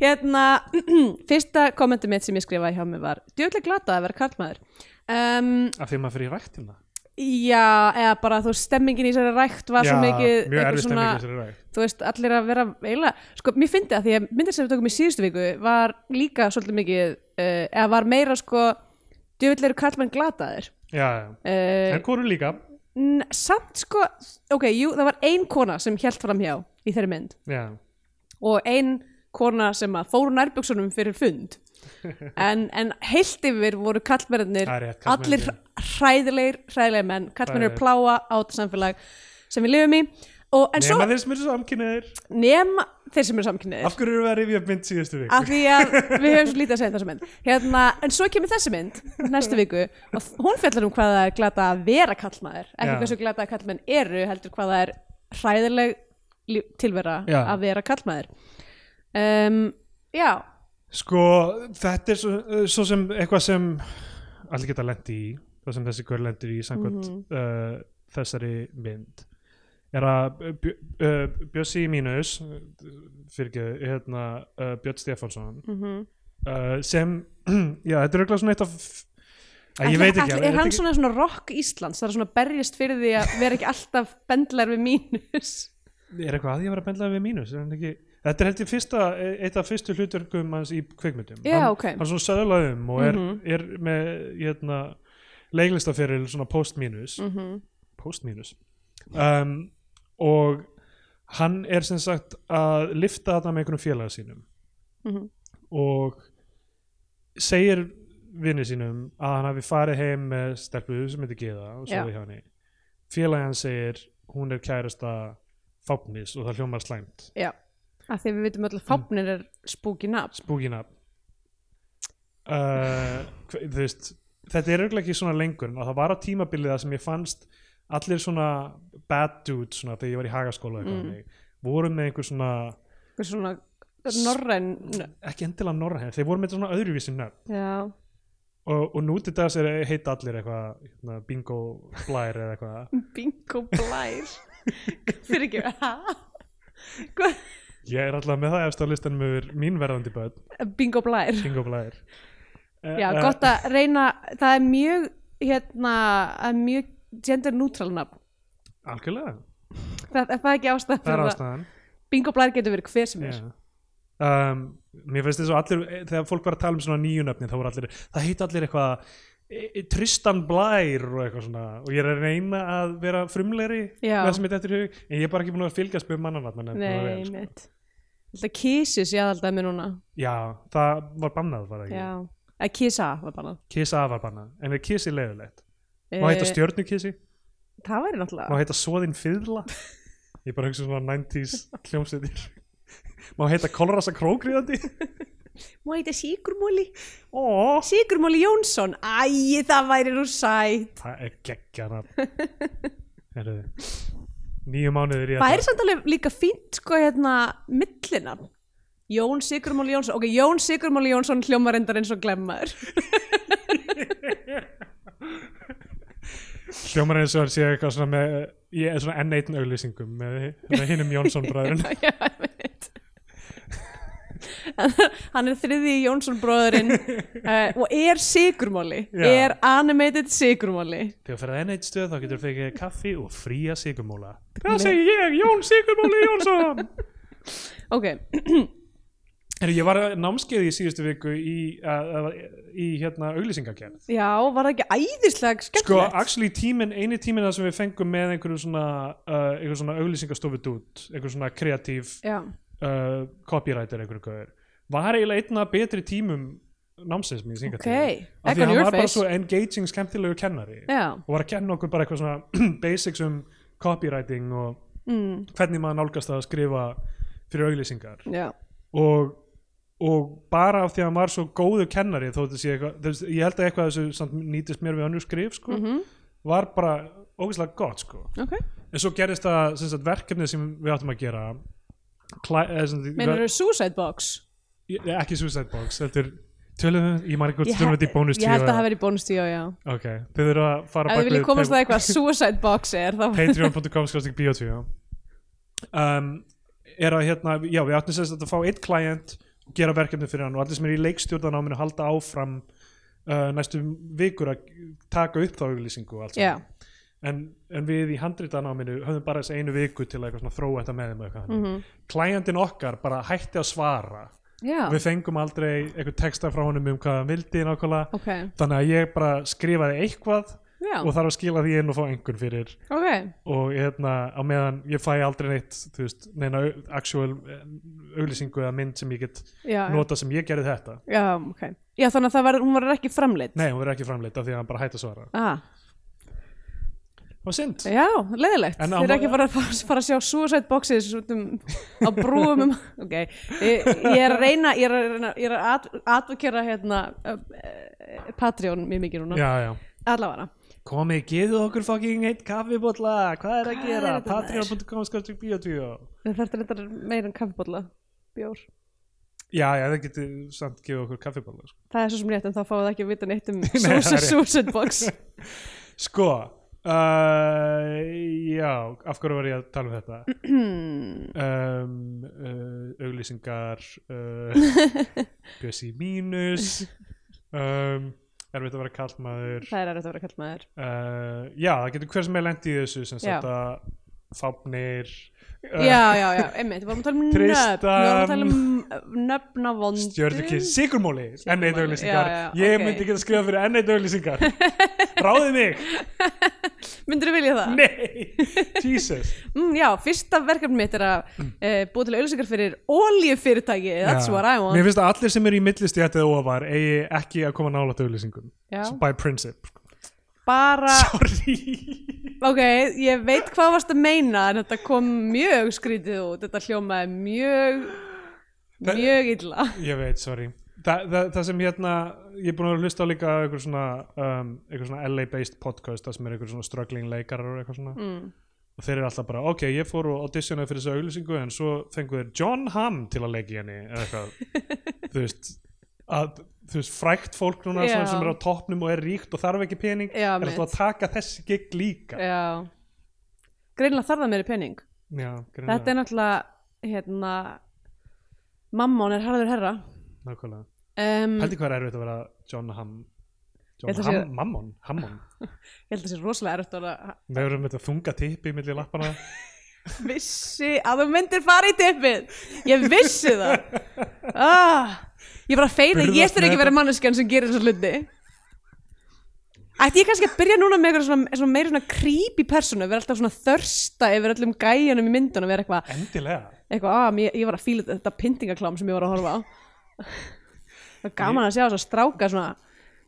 [SPEAKER 1] hérna fyrsta kommentum mitt sem ég skrifaði hjá mig var djöðlega glata að vera karlmaður um,
[SPEAKER 2] af því að maður fyrir í hérna. ræktina
[SPEAKER 1] já, eða bara þú veist, stemmingin í sér rækt var svo mikið
[SPEAKER 2] mjög
[SPEAKER 1] eitthvað
[SPEAKER 2] erfið
[SPEAKER 1] svona-
[SPEAKER 2] stemming í þessari rækt
[SPEAKER 1] þú veist, allir að vera eiginlega, sko, mér fyndi að því að myndir sem við tókum í síðustu viku var líka svolítið mikið, uh, eða var meira sko, djöfull eru karlmenn glataðir
[SPEAKER 2] já, já.
[SPEAKER 1] uh,
[SPEAKER 2] en konur líka
[SPEAKER 1] N- samt sko, ok, jú, það var ein kona sem held fram hjá í þeirri mynd
[SPEAKER 2] já,
[SPEAKER 1] og ein kona sem að fóru nærbuksunum fyrir fund en, en heilt yfir voru kallmennir
[SPEAKER 2] Það er rétt,
[SPEAKER 1] allir
[SPEAKER 2] karlmennirnir.
[SPEAKER 1] hræðilegir, hræðilegir menn kallmennir
[SPEAKER 2] Hræðilegir.
[SPEAKER 1] pláa á þetta samfélag sem við lifum í og, en
[SPEAKER 2] nema
[SPEAKER 1] svo Eh.
[SPEAKER 2] þeir sem eru samkynniðir
[SPEAKER 1] nema þeir sem eru samkynniðir
[SPEAKER 2] af hverju eru við að rifja upp mynd síðustu vik
[SPEAKER 1] af því að við höfum svo lítið að segja um þessa mynd hérna, en svo kemur þessi mynd næstu viku og hún fjallar um hvað það er glata að vera kallmaður ekki
[SPEAKER 2] Já.
[SPEAKER 1] hversu glata að kallmenn eru heldur hvað það er hræðileg lí- tilvera
[SPEAKER 2] Já.
[SPEAKER 1] að vera kallmaður um, já,
[SPEAKER 2] sko þetta er svo, svo sem eitthvað sem allir geta lendi í það sem þessi hver lendir í samkvæmt
[SPEAKER 1] Mhm.
[SPEAKER 2] uh, þessari mynd er að uh, Bjö- uh, Bjössi Mínus fyrir ekki hérna, uh, Björn Stefánsson
[SPEAKER 1] mm
[SPEAKER 2] uh, sem, já þetta er auðvitað svona eitt af að ég
[SPEAKER 1] Ætli-
[SPEAKER 2] veit
[SPEAKER 1] ætli-
[SPEAKER 2] ekki, alveg, ég
[SPEAKER 1] er
[SPEAKER 2] veit
[SPEAKER 1] hann
[SPEAKER 2] ekki
[SPEAKER 1] svona, svona rock Íslands það er svona að berjast fyrir því að vera ekki alltaf bendlar við mínus
[SPEAKER 2] er eitthvað að ég var að bendla við Mínus er hann ekki Þetta er held ég fyrsta, eitt af fyrstu hlutverkum hans í kvikmyndum.
[SPEAKER 1] Já,
[SPEAKER 2] hann,
[SPEAKER 1] ok.
[SPEAKER 2] hann er svona söðlaðum og er,
[SPEAKER 1] Mhm.
[SPEAKER 2] er með hérna, leiklistaferil svona post-mínus.
[SPEAKER 1] mm
[SPEAKER 2] post-mínus um, og hann er sem sagt að lifta þetta með einhvernum félaga sínum
[SPEAKER 1] Mhm.
[SPEAKER 2] og segir vinni sínum að hann hafi farið heim með stelpu sem heitir Geða og
[SPEAKER 1] Já.
[SPEAKER 2] svo hjá henni félagi hann segir hún er kærasta fápnis og það hljómar slæmt
[SPEAKER 1] já, að því við vitum öll að fápnir er spooky nafn
[SPEAKER 2] spúkina uh, hve- þú veist þetta er auðvitað ekki svona lengur en að það var á tímabilið það sem ég fannst allir svona bad dudes svona, þegar ég var í hagaskóla
[SPEAKER 1] Mm.
[SPEAKER 2] mm. voru með einhver svona
[SPEAKER 1] Einhver svona norræn
[SPEAKER 2] ekki endilega norræn, þeir voru með svona öðruvísi nöfn
[SPEAKER 1] já
[SPEAKER 2] og, og nú til dags er heita allir eitthvað hérna, bingo blær eða eitthvað
[SPEAKER 1] Bingo blær Fyrir ekki ha? Hvað?
[SPEAKER 2] ég er alltaf með það efst á listanum yfir mín verðandi börn,
[SPEAKER 1] Bingo blær
[SPEAKER 2] bingo blær Eh,
[SPEAKER 1] Já,
[SPEAKER 2] eh,
[SPEAKER 1] gott að reyna Það er mjög hérna, það er mjög gender neutral nafn
[SPEAKER 2] algjörlega,
[SPEAKER 1] Það, er það ekki ástæð
[SPEAKER 2] það er ástæðan
[SPEAKER 1] Bingo blær getur verið hver sem er
[SPEAKER 2] Já. um, mér finnst þess að allir þegar fólk var að tala um svona nýju nöfni þá voru allir, það heit allir eitthvað e, e, Tristan Blær og eitthvað svona og ég er að reyna að vera frumlegri
[SPEAKER 1] Já.
[SPEAKER 2] með það sem mitt eftir í hug en ég er bara ekki búin að fylgjast með mannanatn
[SPEAKER 1] Nei, mitt Þetta kísis ég aðalda með núna
[SPEAKER 2] já, það var bannað var það ekki,
[SPEAKER 1] Já, að kísa var bara Eh,
[SPEAKER 2] kisa var bannað en er kisi leiðilegt, má heita stjörnukisi
[SPEAKER 1] Það væri
[SPEAKER 2] má
[SPEAKER 1] náttúrulega
[SPEAKER 2] heita svoðin fyðla ég bara hugsa svona 90s hljómsveitir má heita kolrasa krókriðandi
[SPEAKER 1] Má heita Sigurmóli
[SPEAKER 2] ó,
[SPEAKER 1] Sigurmóli Jónsson Æ, það væri nú sæt
[SPEAKER 2] Það er geggjana Herðu Nýju mánuðir í
[SPEAKER 1] Það er samt alveg líka fínt sko hérna millina Jón Sigurmóli Jónsson ok, Jón Sigurmóli Jónsson hljómar endar eins og glemmaður
[SPEAKER 2] Hljómar eins og hann sé eitthvað svona með Ég er svona N1 auglýsingum með, með hinnum Jónsson bræðurinn
[SPEAKER 1] Já, já, ég veit Hann er þriði Jónsson bróðurinn uh, og er Sigurmóli
[SPEAKER 2] Já.
[SPEAKER 1] er animated Sigurmóli
[SPEAKER 2] Þegar ferðið N1 stöð þá getur þú fengið kaffi og fría sigurmóla Það segi ég, Jón Sigurmóli Jónsson
[SPEAKER 1] ok,
[SPEAKER 2] Herru, ég var námskeið í síðustu viku í, uh, í hérna auglýsingakerð
[SPEAKER 1] já, var það ekki æðislega
[SPEAKER 2] Sko,
[SPEAKER 1] skemmtilegt
[SPEAKER 2] actually tíminn, eini tíminn það sem við fengum með einhverju svona, uh, einhverju svona auglýsingastofu dút, einhverju svona kreatív
[SPEAKER 1] já,
[SPEAKER 2] uh, copywriter einhverju gauður var eiginlega einna betri tímum námsins mín syngat
[SPEAKER 1] ok
[SPEAKER 2] af
[SPEAKER 1] Egg
[SPEAKER 2] því
[SPEAKER 1] on
[SPEAKER 2] hann
[SPEAKER 1] your
[SPEAKER 2] var bara
[SPEAKER 1] face
[SPEAKER 2] svo engaging skemmtilegu kennari
[SPEAKER 1] já,
[SPEAKER 2] og var að kenna okkur bara eitthvað svona basics um copywriting og
[SPEAKER 1] mm,
[SPEAKER 2] hvernig maður nálgast að skrifa fyrir auglýsingar
[SPEAKER 1] já
[SPEAKER 2] og, og bara af því að hann var svo góður kennari þó þetta sé eitthvað, þú veist, ég held að eitthvað af þessu samt nýtist mér við önnur skrif sko,
[SPEAKER 1] Mhm.
[SPEAKER 2] var bara ógeðslega gott sko
[SPEAKER 1] ok,
[SPEAKER 2] en svo gerðist það sem sagt, verkefni sem við áttum að gera klæ, eh, sem, sagt-
[SPEAKER 1] mennur þú suicide box?
[SPEAKER 2] Ég- Nei, ekki Suicide Box, þetta er tölum, ég maður ekki hvort
[SPEAKER 1] Ég
[SPEAKER 2] tölum þetta í
[SPEAKER 1] he-
[SPEAKER 2] bónus
[SPEAKER 1] Ég held að það verið í bónustíu, já
[SPEAKER 2] Ok, þið eru að fara
[SPEAKER 1] Ef þið viljið komast að
[SPEAKER 2] pa-
[SPEAKER 1] eitthvað suicide box er þá
[SPEAKER 2] patreon.com skrást ekki bíotvíu um, er að hérna já, við áttum sérst að fá eitt klient og gera verkefni fyrir hann og allir sem er í leikstjórnan á minu halda áfram uh, næstu vikur að taka upp þá auglýsingu og allt
[SPEAKER 1] Já,
[SPEAKER 2] saman. en, en við í handritan á minu höfðum bara þess einu viku til að eitthvað svona þróa þetta með þeim og eitthvað mm
[SPEAKER 1] Mhm.
[SPEAKER 2] klientin okkar bara hætti að svara
[SPEAKER 1] já,
[SPEAKER 2] við fengum aldrei eitthvað texta frá honum um hvað hann vildi nákvæmlega
[SPEAKER 1] ok
[SPEAKER 2] þannig að ég bara skrifaði eitthvað
[SPEAKER 1] Já,
[SPEAKER 2] og þarf að skila því inn og fá einhvern fyrir
[SPEAKER 1] ok
[SPEAKER 2] og hérna á meðan ég fæ aldrei neitt þú veist, neina au- actual eh, auglýsingu eða mynd sem ég get
[SPEAKER 1] Já, já.
[SPEAKER 2] nota sem ég gerði þetta
[SPEAKER 1] já, ok Já, þannig að það var, hún var ekki framleitt
[SPEAKER 2] nei, hún verður ekki framleitt af því að hann bara hætti að svara
[SPEAKER 1] ah.
[SPEAKER 2] það var synd
[SPEAKER 1] Já, leðilegt.
[SPEAKER 2] En á-
[SPEAKER 1] Þeir eru ekki bara að fara, fara að sjá suicide boxes út um, á brúum um, ok, ég, ég er að reyna, ég er að reyna, ég er að ad- advokera hérna uh, uh, Patreon mjög mikið núna,
[SPEAKER 2] já, já
[SPEAKER 1] allavega.
[SPEAKER 2] komið, geðu okkur fucking eitt kaffibólla hvað er að
[SPEAKER 1] Hvað er
[SPEAKER 2] gera,
[SPEAKER 1] þetta, maður?
[SPEAKER 2] patreon.com skortur bíotvíó
[SPEAKER 1] Það þarf þetta meira en kaffibólla, bjór.
[SPEAKER 2] já, já, það getur samt gefið okkur kaffibólla sko,
[SPEAKER 1] Það er svo sem rétt en þá fáið það ekki að vita neitt um
[SPEAKER 2] það er
[SPEAKER 1] suicide,
[SPEAKER 2] rétt.
[SPEAKER 1] suicide box.
[SPEAKER 2] sko uh, já, af hverju var ég að tala um þetta um, uh, auglýsingar uh, bjössi mínus um, erfitt að vera kallmaður
[SPEAKER 1] það er erfitt að vera kallt maður.
[SPEAKER 2] uh, já, það getur hver sem er lent í þessu sem
[SPEAKER 1] Já.
[SPEAKER 2] sagt að fáfnir eh,
[SPEAKER 1] Já, já, já, einmitt, við vorum að tala um nöfn, við vorum að tala um nöfn á vondum.
[SPEAKER 2] stjörnukins, sigurmóli, enn eitt
[SPEAKER 1] Sykurmóli,
[SPEAKER 2] auglýsingar
[SPEAKER 1] já, já,
[SPEAKER 2] ég
[SPEAKER 1] ok.
[SPEAKER 2] myndi ekki að skrifa fyrir enn eitt auglýsingar ráðið mig,
[SPEAKER 1] Myndirðu vilja það?
[SPEAKER 2] nei Jesus,
[SPEAKER 1] Mm, já, fyrsta verkefni mitt er að mm. búa til auðlýsingar fyrir oljufyrirtæki, that's
[SPEAKER 2] Já.
[SPEAKER 1] what I want.
[SPEAKER 2] mér finnst að allir sem eru í millist í þetta og ofar eigi ekki að koma nálægt auglýsingum
[SPEAKER 1] Já.
[SPEAKER 2] by principle,
[SPEAKER 1] Bara,
[SPEAKER 2] sorry
[SPEAKER 1] ok, ég veit hvað varst að meina en þetta kom mjög skrítið út, þetta hljómaði mjög,
[SPEAKER 2] Það-
[SPEAKER 1] mjög illa.
[SPEAKER 2] ég veit, sorry Þa, það, það sem hérna, ég er búin að vera að hlusta á líka á einhver svona, um, einhver svona LA based podcast, það sem er einhver svona struggling leikarar og eitthvað svona
[SPEAKER 1] Mm.
[SPEAKER 2] og þeir eru alltaf bara, ok, ég fór og auditionaði fyrir þessu auglýsingu en svo fengu þeir John Hamm til að leggja henni eða eitthvað, þú veist að, þú veist, frækt fólk núna
[SPEAKER 1] Já.
[SPEAKER 2] svona, sem er á toppnum og er ríkt og þarf ekki pening
[SPEAKER 1] Já,
[SPEAKER 2] er alltaf að taka þessi gig líka
[SPEAKER 1] Já, greinilega þarf það meiri pening.
[SPEAKER 2] já,
[SPEAKER 1] Þetta er náttúrulega, hérna, mammon er harður herra.
[SPEAKER 2] nákvæmlega
[SPEAKER 1] Um,
[SPEAKER 2] heldur hvað er erfitt að vera John Hamm
[SPEAKER 1] Ég
[SPEAKER 2] John
[SPEAKER 1] held að sé-
[SPEAKER 2] Hamm, Mammon, Hammon
[SPEAKER 1] ég held að það sé rosalega erft að vera-
[SPEAKER 2] við erum með þetta þunga tippi millir lappana
[SPEAKER 1] vissi að þú myndir fara í tippið ég vissi það ah, ég var að feina
[SPEAKER 2] Burðast
[SPEAKER 1] ég þurfi
[SPEAKER 2] með
[SPEAKER 1] ekki að vera
[SPEAKER 2] þetta.
[SPEAKER 1] manneskjan sem gerir þessa hluti ætti ég kannski að byrja núna með eitthvað svona, svona meira svona creepy persónu vera alltaf svona þörsta yfir öllum gæjanum í myndunum vera eitthvað,
[SPEAKER 2] endilega
[SPEAKER 1] eitthvað ah, mér, ég var að fíla þetta pyntingaklám sem ég var að horfa á það var gaman að sjá þess að stráka svona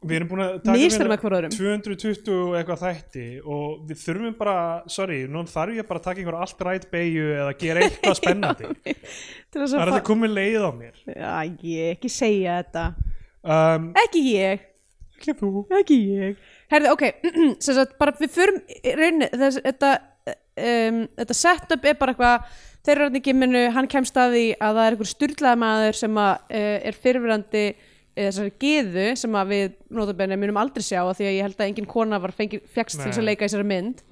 [SPEAKER 2] við erum búin að
[SPEAKER 1] Misþyrma
[SPEAKER 2] hérna
[SPEAKER 1] hvor öðrum.
[SPEAKER 2] 220 og eitthvað þætti og við þurfum bara, sorry, nú þarf ég bara að taka einhver allt rætt beigju eða gera eitthvað spennandi
[SPEAKER 1] til þess
[SPEAKER 2] það
[SPEAKER 1] að
[SPEAKER 2] er að
[SPEAKER 1] fá
[SPEAKER 2] það komið leið á mér
[SPEAKER 1] Já, ég ekki segja þetta
[SPEAKER 2] um,
[SPEAKER 1] ekki ég
[SPEAKER 2] ekki þú
[SPEAKER 1] ekki ég Herði, ok, sem sagt, bara við förum í rauninni, þess, þetta um, þetta setup er bara eitthvað þeir eru hann í gimminu, hann kemst að því að það er einhver styrlaða maður sem að, uh, er fyrirverandi uh, þessari geðu sem að við notabenni munum aldrei sjá af því að ég held að engin kona var fengi, fjagst til þess að
[SPEAKER 2] Nei.
[SPEAKER 1] leika í þessari mynd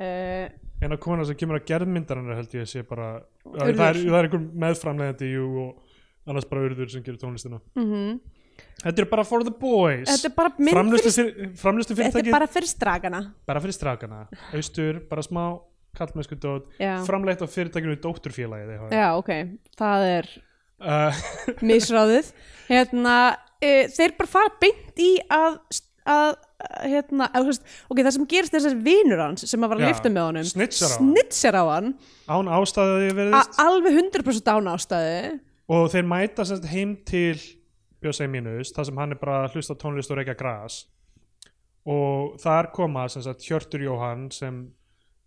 [SPEAKER 1] uh,
[SPEAKER 2] en að kona sem kemur að gerðmyndarinnar held ég að sé bara það
[SPEAKER 1] Urður.
[SPEAKER 2] er, það er einhver meðframlegandi jú, og annars bara urður sem gerir tónlistina
[SPEAKER 1] mm
[SPEAKER 2] þetta er bara for the boys
[SPEAKER 1] Þetta er bara mynd
[SPEAKER 2] framlustu,
[SPEAKER 1] fyrir,
[SPEAKER 2] fyr, framlustu
[SPEAKER 1] þetta er
[SPEAKER 2] fyrirtæki bara...
[SPEAKER 1] bara fyrir stragana
[SPEAKER 2] fyrir strákana austur, bara smá kallmennsku dót
[SPEAKER 1] Já.
[SPEAKER 2] framleitt á fyrirtækinu dótturfélagið EHF.
[SPEAKER 1] Já, ok, það er
[SPEAKER 2] uh,
[SPEAKER 1] misráðið hérna, e, þeir bara fara beint í að, að hérna, að, þú veist, ok, það sem gerist er þessar vinur hans sem að var að
[SPEAKER 2] Já,
[SPEAKER 1] lifta með honum
[SPEAKER 2] snitchar á hann.
[SPEAKER 1] snitsar á hann
[SPEAKER 2] án ástæðu að ég
[SPEAKER 1] að
[SPEAKER 2] verðist
[SPEAKER 1] alveg 100% án ástæðu
[SPEAKER 2] og þeir mæta semst heim til Bjössi Mínus, þar sem hann er bara að hlusta á tónlist og reykja gras og þar koma sem sagt Hjörtur Jóhann sem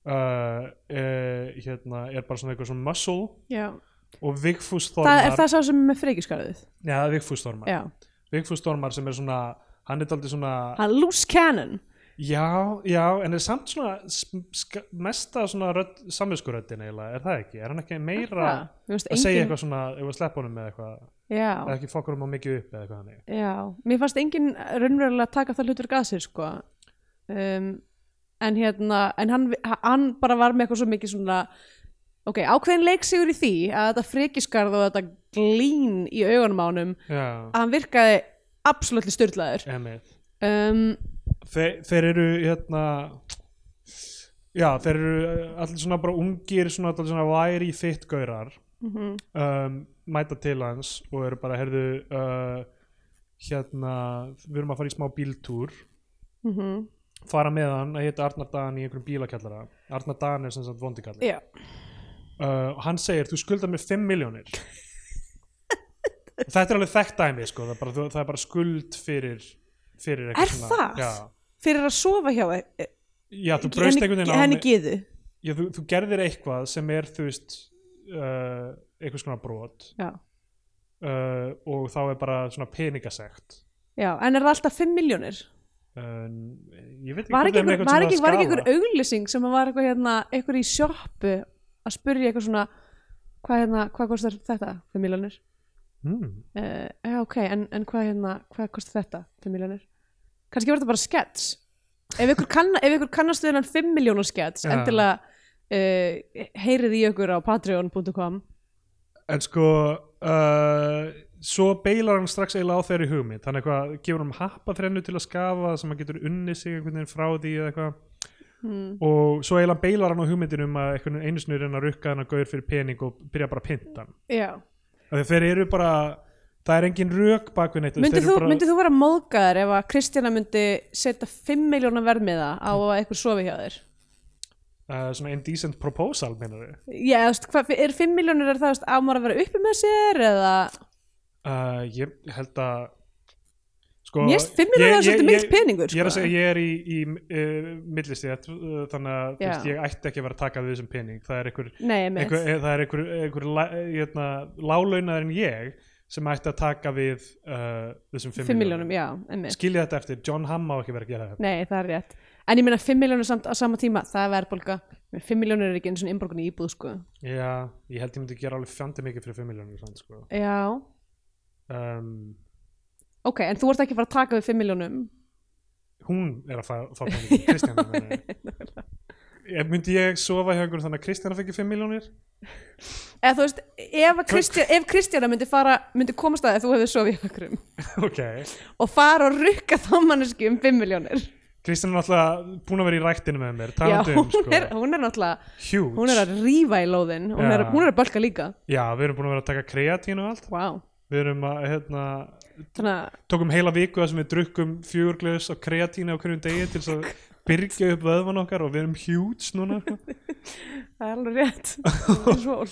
[SPEAKER 2] uh, uh, hérna, er bara svona eitthvað svona muscle
[SPEAKER 1] já.
[SPEAKER 2] og Vigfús
[SPEAKER 1] það
[SPEAKER 2] Þormar
[SPEAKER 1] er það sá sem er með freykjuskarðið
[SPEAKER 2] Já, það er Vigfús Þormar
[SPEAKER 1] já,
[SPEAKER 2] Vigfús Þormar sem er svona hann er daldið svona
[SPEAKER 1] hann er loose cannon
[SPEAKER 2] já, já, en er samt svona sm- ska, mesta svona rödd, samvinskuröddin eiginlega, er það ekki? Er hann ekki meira
[SPEAKER 1] Það, mér finnst
[SPEAKER 2] að segja
[SPEAKER 1] engin-
[SPEAKER 2] eitthvað svona ef að sleppa honum með eitthvað eða
[SPEAKER 1] já,
[SPEAKER 2] ekki fokkur um á mikið upp eða eitthvað hannig
[SPEAKER 1] já, mér fannst engin raunverulega taka það hlutur gasir sko um, en hérna en hann, hann bara var með eitthvað svo mikið svona ok, ákveðin leiksigur í því að þetta frekiskarð og þetta glín í augunum ánum
[SPEAKER 2] já,
[SPEAKER 1] að hann virkaði absolutt styrlaður
[SPEAKER 2] emið
[SPEAKER 1] um,
[SPEAKER 2] þeir, þeir eru hérna já, þeir eru eh, allir svona bara ungir svona, allir svona væri fitt gaurar um, mæta til hans og eru bara, heyrðu uh, hérna, við erum að fara í smá bíltúr
[SPEAKER 1] mhm.
[SPEAKER 2] mhm. fara með hann, það heita Arnar Dan í einhverjum bílakjallara Arnar Dan er sem sagt vondikall
[SPEAKER 1] já,
[SPEAKER 2] uh, og hann segir, þú skuldar mér 5 miljónir þetta er alveg þekkt dæmi sko, það, er bara, þú- það er bara skuld fyrir, fyrir eitthvað
[SPEAKER 1] Er það?
[SPEAKER 2] Já,
[SPEAKER 1] fyrir að sofa hjá e- e-
[SPEAKER 2] já, þú braust
[SPEAKER 1] henni,
[SPEAKER 2] einhvern veginn á
[SPEAKER 1] henni
[SPEAKER 2] mig-
[SPEAKER 1] giðu
[SPEAKER 2] já, þú, þú gerðir eitthvað sem er þú veist uh, einhvers konar brot
[SPEAKER 1] já.
[SPEAKER 2] uh, og þá er bara svona peningasekt
[SPEAKER 1] já, en er það alltaf 5 miljónir
[SPEAKER 2] uh, ég veit ekki
[SPEAKER 1] var ekki
[SPEAKER 2] hvort það
[SPEAKER 1] einhver,
[SPEAKER 2] er með einhvern
[SPEAKER 1] var
[SPEAKER 2] svona
[SPEAKER 1] ekki, var ekki
[SPEAKER 2] skala.
[SPEAKER 1] einhver auglýsing sem var eitthvað hérna, einhver í sjoppu að spyrja eitthvað svona hvað hérna, hvað kostar þetta 5 miljónir
[SPEAKER 2] mm.
[SPEAKER 1] uh, já ok, en, en hvað hérna hvað kostar þetta 5 miljónir kannski var þetta bara skets ef ykkur, kanna, ef ykkur kannast við hennan 5 miljónar skets
[SPEAKER 2] Já.
[SPEAKER 1] endilega uh, heyrið í ykkur á patreon.com
[SPEAKER 2] en sko uh, svo beilar hann strax eiginlega á þeirri hugmynd hann eitthvað gefur hann happaþrennu til að skafa sem hann getur unnið sig einhvern veginn frá því eða eitthvað
[SPEAKER 1] hmm.
[SPEAKER 2] og svo eiginlega beilar hann á hugmyndinu um að einhvern veginn einu sinni reyna að rukka hann að gaur fyrir pening og byrja bara að pynta hann
[SPEAKER 1] já
[SPEAKER 2] af því þeir eru bara, það er engin rök bakvið neitt
[SPEAKER 1] Myndið
[SPEAKER 2] þeir
[SPEAKER 1] þú,
[SPEAKER 2] eru bara,
[SPEAKER 1] myndir þú vera móðgæður ef að Kristjana myndi setja 5 miljónar verðmiða á að eitthvað sofi hjá þér?
[SPEAKER 2] uh, svona indecent proposal minnar við
[SPEAKER 1] Já, þú veist, hvað, er 5 miljónir er það, þú veist, á maður að vera uppi með sér eða,
[SPEAKER 2] uh, ég held að sko,
[SPEAKER 1] mér finnst 5 miljónir
[SPEAKER 2] ég-
[SPEAKER 1] er svolítið
[SPEAKER 2] ég-
[SPEAKER 1] mikill
[SPEAKER 2] ég-
[SPEAKER 1] peningur, sko.
[SPEAKER 2] Ég er að segja, ég er í, í uh, millistíð uh, þannig að þú
[SPEAKER 1] Já.
[SPEAKER 2] veist, ég ætti ekki að vera að taka við þessum pening það er einhver,
[SPEAKER 1] Nei, mitt.
[SPEAKER 2] einhver, eh, það er einhver, einhver la, hérna, lálaunaður en ég sem ætti að taka við uh, þessum 5,
[SPEAKER 1] 5 miljónum, já, einmitt.
[SPEAKER 2] skilja þetta eftir, John Hamm á ekki verið að gera þetta
[SPEAKER 1] Nei, það er rétt. En ég meina 5 miljónir samt á sama tíma, það er verðbólga. 5 miljónir er ekki eins og innborgun í íbúð, sko.
[SPEAKER 2] já, ég held ég myndi gera alveg fjandi mikið fyrir 5 miljónum samt, sko.
[SPEAKER 1] Já,
[SPEAKER 2] um,
[SPEAKER 1] ok, en þú ert ekki að fara að taka við 5 miljónum.
[SPEAKER 2] hún er að fá, fá pening Kristjana meina ég. Ég- myndi ég sofa hjá einhverjum þannig að Kristjana fengi 5 miljónir
[SPEAKER 1] Eða þú veist, ef, að Kristjana, ef Kristjana myndi, fara, myndi komast að því að þú hefði sofið hjá okkurum
[SPEAKER 2] ok,
[SPEAKER 1] og fara og rukka þá manneski um 5 miljónir.
[SPEAKER 2] Kristjana er alltaf búin að vera í rættinu með mér talandi um, sko,
[SPEAKER 1] hún er, hún er náttúrulega,
[SPEAKER 2] huge
[SPEAKER 1] hún er að rífa í lóðin, hún, er,
[SPEAKER 2] Já.
[SPEAKER 1] hún er að bölka líka.
[SPEAKER 2] já, við erum búin að vera að taka kreatín og allt
[SPEAKER 1] Vá. Wow.
[SPEAKER 2] við erum að, hérna,
[SPEAKER 1] Þannig að
[SPEAKER 2] tókum heila viku þar sem við drukkum fjögurglöðs og kreatínu á hverjum degi til þess að byrgja upp vöðvan okkar og við erum huge núna sko.
[SPEAKER 1] Það er alveg rétt Það er svol.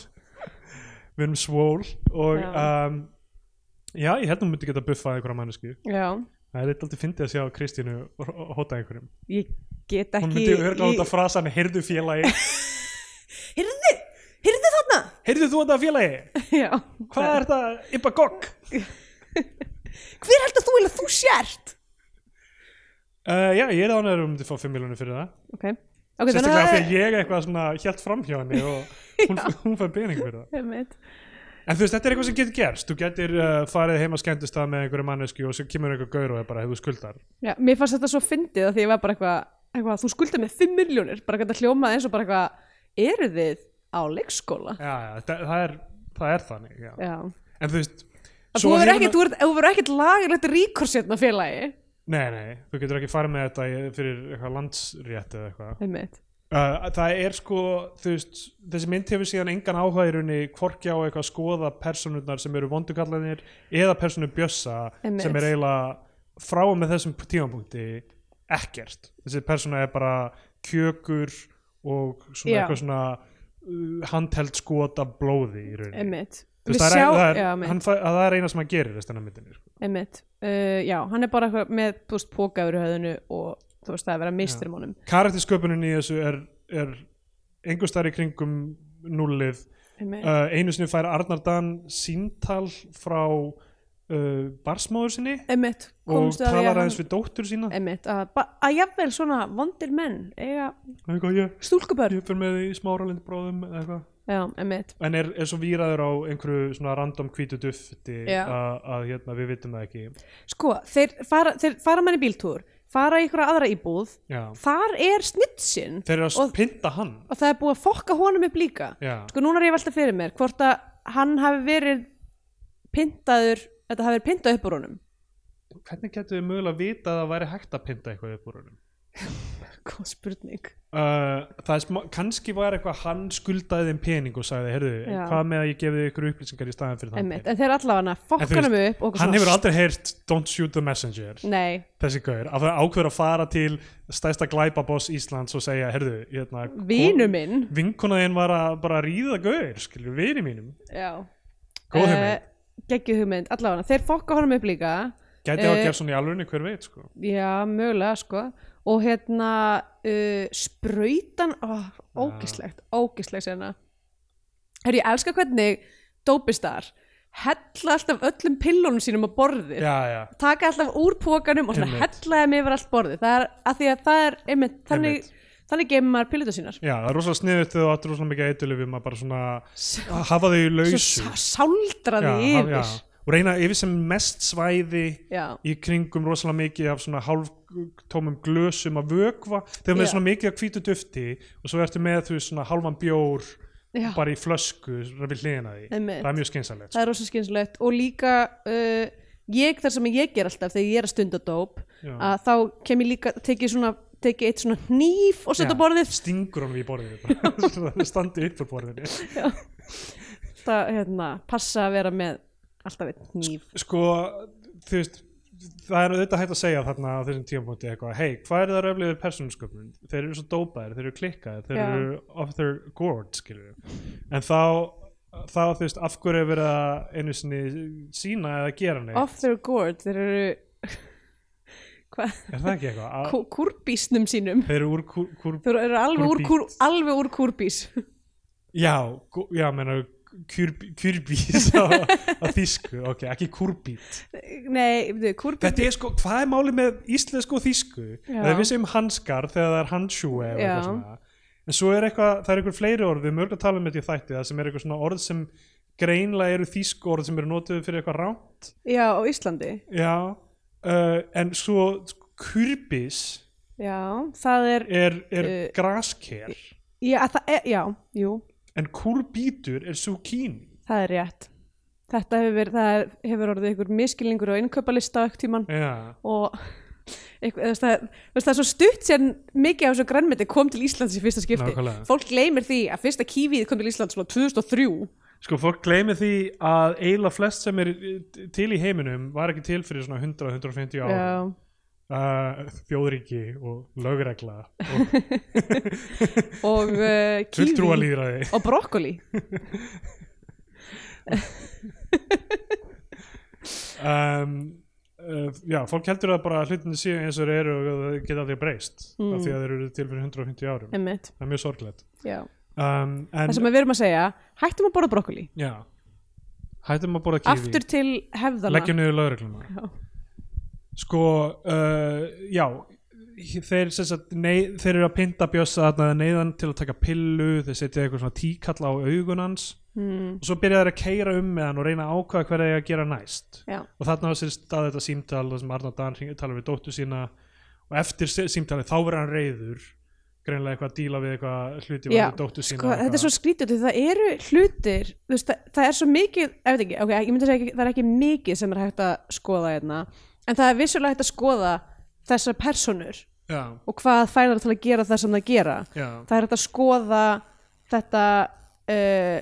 [SPEAKER 2] við erum svól og
[SPEAKER 1] Já.
[SPEAKER 2] um, já, ég held að hún myndi geta buffað einhverja mannesku,
[SPEAKER 1] Já,
[SPEAKER 2] það er eitthvað aldrei fyndið að sjá Kristínu og hóta einhverjum
[SPEAKER 1] ég get ekki
[SPEAKER 2] hún myndi örgla út
[SPEAKER 1] ég-
[SPEAKER 2] að frasa hann heyrðu félagi,
[SPEAKER 1] Heyrðu, heyrðu þarna
[SPEAKER 2] heyrðu þú þetta félagi
[SPEAKER 1] Já,
[SPEAKER 2] hvað er þetta, yppa gogg
[SPEAKER 1] Hver heldur þú eiginlega þú sért?
[SPEAKER 2] uh, já, ég er ánæður um að fá 5 miljonir fyrir það
[SPEAKER 1] Ok, okay
[SPEAKER 2] Sérstaklega af því að ég eitthvað svona hjælt fram hjá henni og hún, hún fær pening fyrir það.
[SPEAKER 1] Einmitt.
[SPEAKER 2] En þú veist, þetta er eitthvað sem getur gerst. Þú getur uh, farið heim að skemmtist það með einhverju mannesku og svo kemur einhver gaur og er bara hefur skuldar.
[SPEAKER 1] Já, mér fannst þetta svo fyndið að því ég var bara eitthvað eitthva, þú skuldar með 5 miljónir bara gæta hljómað eins og bara eitthvað eru þið á leikskóla?
[SPEAKER 2] Já, já, það, það, er, það er þannig, já.
[SPEAKER 1] Já
[SPEAKER 2] En þú veist,
[SPEAKER 1] Að Þú
[SPEAKER 2] svo
[SPEAKER 1] verður
[SPEAKER 2] hefur-
[SPEAKER 1] ekkert, þú verður- þú verður ekkert lagerlegt ríkorsetna félagi
[SPEAKER 2] Nei, nei, þú getur ekki farið með þetta í- fyrir eitthvað landsrétt eða eitthvað.
[SPEAKER 1] Einmitt
[SPEAKER 2] Uh, það er sko, þú veist, þessi mynd hefur síðan engan áhuga í rauninni hvorki á eitthvað að skoða personurnar sem eru vondukallanir eða personu bjössa
[SPEAKER 1] Einmitt.
[SPEAKER 2] sem er eiginlega frá og með þessum tímapunkti ekkert. Þessi persona er bara kjökur og svona
[SPEAKER 1] Já.
[SPEAKER 2] eitthvað svona uh, handheld skot af blóði í rauninni.
[SPEAKER 1] Einmitt
[SPEAKER 2] Þú
[SPEAKER 1] Við
[SPEAKER 2] veist, það, er,
[SPEAKER 1] sjá-
[SPEAKER 2] það, er,
[SPEAKER 1] Já, einmitt.
[SPEAKER 2] hann, fæ- að það er eina sem hann gerir restina af myndinni. Sko.
[SPEAKER 1] Einmitt, uh, já, hann er bara eitthvað með þú veist, póka yfir höfðinu og þú veist það er verið að mistur um honum
[SPEAKER 2] Karaktersköpunin í þessu er, er einhver starf í kringum núlið
[SPEAKER 1] Einmitt.
[SPEAKER 2] uh, einu sinni fær Arnar Dan síntal frá uh, barsmáður sinni
[SPEAKER 1] Einmitt,
[SPEAKER 2] og
[SPEAKER 1] komstu að því
[SPEAKER 2] talar
[SPEAKER 1] að
[SPEAKER 2] aðeins
[SPEAKER 1] hann
[SPEAKER 2] við dóttur sína
[SPEAKER 1] Einmitt, að, ba- að jafnvel svona vondir menn eiga
[SPEAKER 2] eitthvað ég,
[SPEAKER 1] stúlkubörn
[SPEAKER 2] ég fyrir með því smáralind bróðum eða eitthvað
[SPEAKER 1] Já, einmitt,
[SPEAKER 2] en er, er svo víraður á einhverju svona random hvítu dufti
[SPEAKER 1] Já.
[SPEAKER 2] að, að hérna, við vitum það ekki
[SPEAKER 1] sko, þeir fara, þeir fara mann í bíltúr, fara í ykkur aðra íbúð
[SPEAKER 2] Já.
[SPEAKER 1] þar er snitsinn
[SPEAKER 2] þeir eru að
[SPEAKER 1] Og-
[SPEAKER 2] og... pinta hann
[SPEAKER 1] og það er búið að fokka honum upp líka
[SPEAKER 2] Já.
[SPEAKER 1] sko, núna er ég velta fyrir mér hvort að hann hafi verið pyntaður, þetta hafi verið pyntað upp úr honum
[SPEAKER 2] hvernig getur við mögulega vita að það væri hægt að pinta eitthvað upp úr honum
[SPEAKER 1] Góð spurning
[SPEAKER 2] Uh, það er smá, kannski var eitthvað hann skuldaði þeim pening og sagði, heyrðu, en
[SPEAKER 1] Já.
[SPEAKER 2] hvað með að ég gefið ykkur upplýsingar í staðan fyrir þann
[SPEAKER 1] Einmitt, en þeir allavega
[SPEAKER 2] En þú
[SPEAKER 1] fokkanum upp og
[SPEAKER 2] veist,
[SPEAKER 1] eitthvað
[SPEAKER 2] hann
[SPEAKER 1] svona-
[SPEAKER 2] hefur aldrei heyrt don't shoot the messenger
[SPEAKER 1] Nei,
[SPEAKER 2] þessi gaur, að það ákveður að fara til stæsta glæpaboss Íslands og segja herðu, hérna,
[SPEAKER 1] vinur minn
[SPEAKER 2] vinkonaðin var að bara ríða gaur, skilur, vini mínum
[SPEAKER 1] Já Eh,
[SPEAKER 2] Góð hugmynd.
[SPEAKER 1] Gekkið hugmynd, allavega Þeir fokka honum upp líka
[SPEAKER 2] gæti að
[SPEAKER 1] Eh,
[SPEAKER 2] gera svona í alvörinu, hver veit, sko
[SPEAKER 1] Já, mögulega sko og hérna uh, sprautan oh, ógislegt, ógislegt sérna Herri, ég elska hvernig dópistar hella alltaf öllum pillunum sínum á borðið
[SPEAKER 2] já, já,
[SPEAKER 1] taka alltaf úr pókanum og svona
[SPEAKER 2] Einmitt.
[SPEAKER 1] hella þeim yfir allt borðið það er að því að það er einmitt, þannig,
[SPEAKER 2] Einmitt.
[SPEAKER 1] þannig geymir maður pillita sínar
[SPEAKER 2] já, það er rosalega sniðut þegar þú áttur rosalega mikið eitulöfum að bara svona að hafa þau í lausu
[SPEAKER 1] svo sáldra
[SPEAKER 2] Já,
[SPEAKER 1] því
[SPEAKER 2] hafa-
[SPEAKER 1] yfir
[SPEAKER 2] já. og reyna yfir sem mest svæði
[SPEAKER 1] já,
[SPEAKER 2] í kringum rosalega mikið af svona hálftómum glösum að vökva þegar með
[SPEAKER 1] Já.
[SPEAKER 2] svona mikið af hvítu dufti og svo ertu með þú veist, svona hálfan bjór
[SPEAKER 1] já.
[SPEAKER 2] bara í flösku svona við hliðina á því
[SPEAKER 1] Einmitt.
[SPEAKER 2] það er mjög sko. skynsalegt
[SPEAKER 1] það er rosa skynslegt og líka uh, ég þar sem ég ger alltaf þegar ég er að stunda dóp
[SPEAKER 2] Já.
[SPEAKER 1] að þá kem ég líka tekið svona tekið eitt svona hníf og setja á borðið
[SPEAKER 2] stingur honum í borðinu bara. Svona standi upp úr borðinu
[SPEAKER 1] það hérna, passa að vera með alltaf eitt hníf
[SPEAKER 2] sko þú veist það er auðvitað hægt að segja þarna á þessum tímapunkti eitthvað, hei, hvað er það röfliður persónusköpun þeir eru svo dópaðir, þeir eru klikkaðir þeir
[SPEAKER 1] Já.
[SPEAKER 2] eru off their gourd skilur en þá þá þú veist, af hverju er verið að einu sinni sína eða gera neitt
[SPEAKER 1] off their gourd þeir eru hvað,
[SPEAKER 2] er það ekki eitthvað, að,
[SPEAKER 1] Kú- kúrbísnum sínum
[SPEAKER 2] þeir eru úr kúr, kúr
[SPEAKER 1] þeir eru alveg úr, kúr,
[SPEAKER 2] Kúrbít.
[SPEAKER 1] alveg úr kúrbís
[SPEAKER 2] já, kú, já, meina kjúrbís á, á þýsku, ok, ekki kúrbít
[SPEAKER 1] nei, veitu, kúrbís
[SPEAKER 2] Þetta er sko, hvað er málið með íslensku og þýsku?
[SPEAKER 1] Já.
[SPEAKER 2] Það er við segjum hanskar þegar það er handsjúi eða
[SPEAKER 1] Já.
[SPEAKER 2] eitthvað svona. En svo er eitthvað, það er eitthvað fleiri orð, við mörg að tala um þetta í þætti, það sem er eitthvað svona orð sem greinlega eru þýsku orð sem eru notuð fyrir eitthvað rámt.
[SPEAKER 1] já, á Íslandi
[SPEAKER 2] Já. Uh, en svo kurbis
[SPEAKER 1] já, það er,
[SPEAKER 2] er, er
[SPEAKER 1] Uh,
[SPEAKER 2] grasker,
[SPEAKER 1] já, það er já, jú,
[SPEAKER 2] en kurbítur er zucchini.
[SPEAKER 1] Það er rétt. Þetta hefur, verið, það er- hefur orðið ykkur miskilningur á innkaupalista okkur tíman
[SPEAKER 2] Já.
[SPEAKER 1] og ykkur, það, það, þú veist, það er svo stutt sér mikið af þessu grænmeti kom til Íslands í fyrsta skipti.
[SPEAKER 2] Nákvæmlega.
[SPEAKER 1] Fólk gleymir því að fyrsta kífið kom til Íslands svona 2003.
[SPEAKER 2] Sko, fólk gleymi því að eiginlega flest sem er eh, til í heiminum var ekki til fyrir svona 100-150 árum.
[SPEAKER 1] Já,
[SPEAKER 2] uh, þjóðríki og lögregla og
[SPEAKER 1] og uh, kífið
[SPEAKER 2] fulltrúalýðræði
[SPEAKER 1] og brokkoli.
[SPEAKER 2] um, uh, já, fólk heldur að bara hlutinu séu eins og þeir eru og það geta allir breyst
[SPEAKER 1] Mm.
[SPEAKER 2] af því að þeir eru til fyrir 150 árum
[SPEAKER 1] Einmitt.
[SPEAKER 2] það er mjög sorglegt
[SPEAKER 1] Já.
[SPEAKER 2] um,
[SPEAKER 1] Það
[SPEAKER 2] en
[SPEAKER 1] sem við erum að segja, hættum að borða brokkoli.
[SPEAKER 2] já, hættum að borða kífi
[SPEAKER 1] Aftur til hefðana.
[SPEAKER 2] leggjum niður lögregluna
[SPEAKER 1] Já.
[SPEAKER 2] sko, uh, já þeir, sem sagt, nei, þeir eru að pynta bjössa þarna neyðan til að taka pillu þeir setja eitthvað svona tíkall á augun hans
[SPEAKER 1] Mm,
[SPEAKER 2] og svo byrja þeir að keira um með hann og reyna að ákvaða hverja þeir að gera næst
[SPEAKER 1] já.
[SPEAKER 2] og þarna á sér stað þetta símtal þar sem Arnar Dan hring- talar við dóttu sína og eftir sí- símtalið þá verður hann reyður greinlega eitthvað að díla við eitthvað hluti
[SPEAKER 1] Já,
[SPEAKER 2] við dóttu sína
[SPEAKER 1] Sko,
[SPEAKER 2] eitthvað.
[SPEAKER 1] þetta er svo skrítið, því það eru hlutir þú veist, það, það er svo mikið, ég veit ekki, ok, ég myndi að segja ekki, það er ekki mikið sem er hægt að skoða hérna, en það er vissulega hægt að skoða þessar personur
[SPEAKER 2] já,
[SPEAKER 1] og hvað fælar til að gera það sem það gera
[SPEAKER 2] já,
[SPEAKER 1] það er hægt að skoða þetta uh,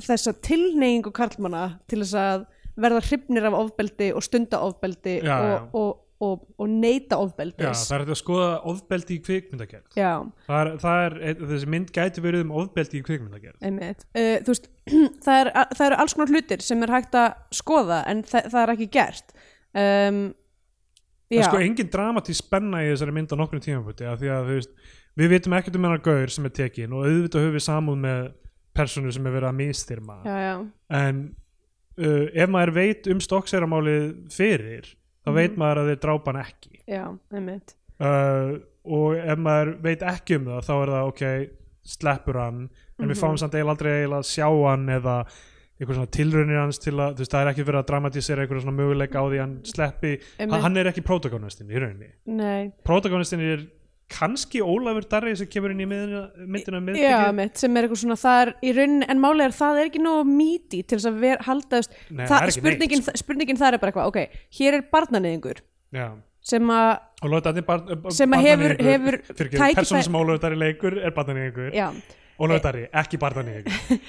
[SPEAKER 1] þessa tilneyingu karlmanna til þess að verða hrifnir af ofbeldi og stunda ofbeldi
[SPEAKER 2] Já,
[SPEAKER 1] og,
[SPEAKER 2] já.
[SPEAKER 1] Og, og, og neita
[SPEAKER 2] já,
[SPEAKER 1] ofbeldis
[SPEAKER 2] það er þetta að skoða ofbeldi í kvikmyndagerð
[SPEAKER 1] já.
[SPEAKER 2] það er, það er, e- þessi mynd gæti verið um ofbeldi í kvikmyndagerð
[SPEAKER 1] Einmitt. Uh, þú veist, það, er, það eru alls konar hlutir sem er hægt að skoða en það, það er ekki gert um,
[SPEAKER 2] það
[SPEAKER 1] já,
[SPEAKER 2] er sko engin dramatísk spenna í þessari mynd á nokkrum tímapunkti af því að þú veist, við vitum ekkert um hennar gaur sem er tekin og auðvitað höfum við samúð með personu sem er verið að mistyrma
[SPEAKER 1] já, já,
[SPEAKER 2] en uh, ef maður veit um stokkseiramálið fyrir þá veit
[SPEAKER 1] Mhm.
[SPEAKER 2] maður að þeir drápa hann ekki
[SPEAKER 1] já, einmitt
[SPEAKER 2] uh, og ef maður veit ekki um það þá er það ok, sleppur hann en
[SPEAKER 1] Mhm.
[SPEAKER 2] við fáum samt eiginlega aldrei eiginlega að sjá hann eða eitthvað svona tilraunir hans til að, þú veist, það er ekki verið að dramatísera eitthvað svona möguleika á því að hann sleppi
[SPEAKER 1] Mhm. Einmitt.
[SPEAKER 2] hann, hann er ekki protagonistin í rauninni
[SPEAKER 1] Nei,
[SPEAKER 2] protagonistin er kannski Ólafur Darri sem kemur inn í miðina, myndina með
[SPEAKER 1] já, mitt, sem er eitthvað svona það er í rauninni, en málega er það er ekki nógu míti til þess að vera haldaðust
[SPEAKER 2] Nei, það
[SPEAKER 1] það,
[SPEAKER 2] er ekki
[SPEAKER 1] spurningin,
[SPEAKER 2] neitt,
[SPEAKER 1] það, spurningin það er bara eitthvað, ok, hér er barnaneyðingur
[SPEAKER 2] já.
[SPEAKER 1] sem að,
[SPEAKER 2] og Lóa Darri barn,
[SPEAKER 1] Sem að hefur-
[SPEAKER 2] barnaníðingur.
[SPEAKER 1] hefur
[SPEAKER 2] Fyrirgefðu,
[SPEAKER 1] tækifæri-
[SPEAKER 2] persónan sem Ólafur Darri leikur er barnaníðingur
[SPEAKER 1] já
[SPEAKER 2] Ólafur Darri, ekki barnaníðingur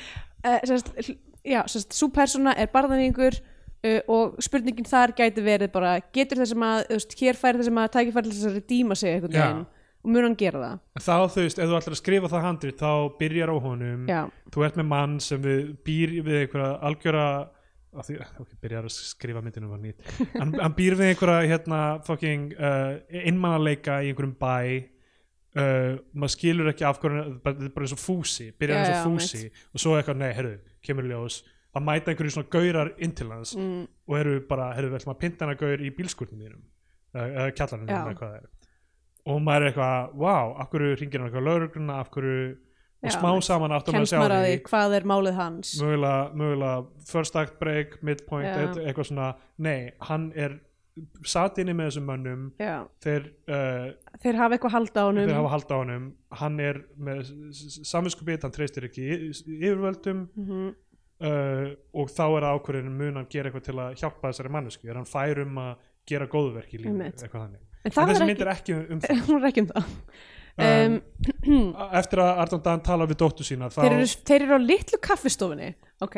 [SPEAKER 1] uh, sérst, hl- já, sérst, sú persóna er barðaningur uh, og spurningin þar gæti verið bara getur þessum að, þú veist, hér færi þessum að tækifæri þess að redíma sig einhvern
[SPEAKER 2] Já.
[SPEAKER 1] veginn og mun hann gera það
[SPEAKER 2] En þá þú veist, ef þú ætlar að skrifa það handrit þá byrjar á honum,
[SPEAKER 1] já,
[SPEAKER 2] þú ert með mann sem við, býr við einhverja algjöra af því, ok, byrjar að skrifa myndinu var nýtt, hann, hann býr við einhverja hérna, fucking uh, einmannaleika í einhverjum bæ uh, maður skilur ekki af hverju bara- þetta er bara eins og fúsi, byrjar
[SPEAKER 1] Já,
[SPEAKER 2] eins
[SPEAKER 1] já,
[SPEAKER 2] og fúsi og svo eitthvað, nei, herru, kemur í ljós að mæta einhverju svona gaurar inn til hans
[SPEAKER 1] mm,
[SPEAKER 2] og eru bara, herru, við ætlum að pinta hana gaur í bílskurnum þínum eða eða kjallaranum
[SPEAKER 1] Já.
[SPEAKER 2] eða hvað það er og maður er eitthvað, wow, af hverju ringir hann eitthvað laurugluna, af hverju og
[SPEAKER 1] Já,
[SPEAKER 2] smá
[SPEAKER 1] mitt.
[SPEAKER 2] saman áttum að
[SPEAKER 1] kemst
[SPEAKER 2] sjá
[SPEAKER 1] maður að
[SPEAKER 2] því
[SPEAKER 1] því hvað er málið hans
[SPEAKER 2] mögulega, mögulega first act break, midpoint,
[SPEAKER 1] Já.
[SPEAKER 2] eit- eitthvað svona nei, hann er satt inni með þessum mönnum
[SPEAKER 1] já,
[SPEAKER 2] þeir, uh,
[SPEAKER 1] þeir hafa eitthvað halda á honum
[SPEAKER 2] þeir hafa hald á honum hann er með saminskupið hann treystir ekki y- yfirvöldum
[SPEAKER 1] Mhm,
[SPEAKER 2] uh, og þá er það ákvörðin mun hann gera eitthvað til að hjálpa þessari mannesku er hann fær um að gera góðverk í lífinu
[SPEAKER 1] Einmitt.
[SPEAKER 2] eitthvað þannig
[SPEAKER 1] en
[SPEAKER 2] en
[SPEAKER 1] það
[SPEAKER 2] þessi
[SPEAKER 1] er
[SPEAKER 2] mynd
[SPEAKER 1] ekki
[SPEAKER 2] er ekki um- um það
[SPEAKER 1] hún er ekki um það um,
[SPEAKER 2] Um, eftir að Arnald Dan tala við dóttu sína þá,
[SPEAKER 1] þeir, eru, þeir eru á litlu kaffistofunni ok,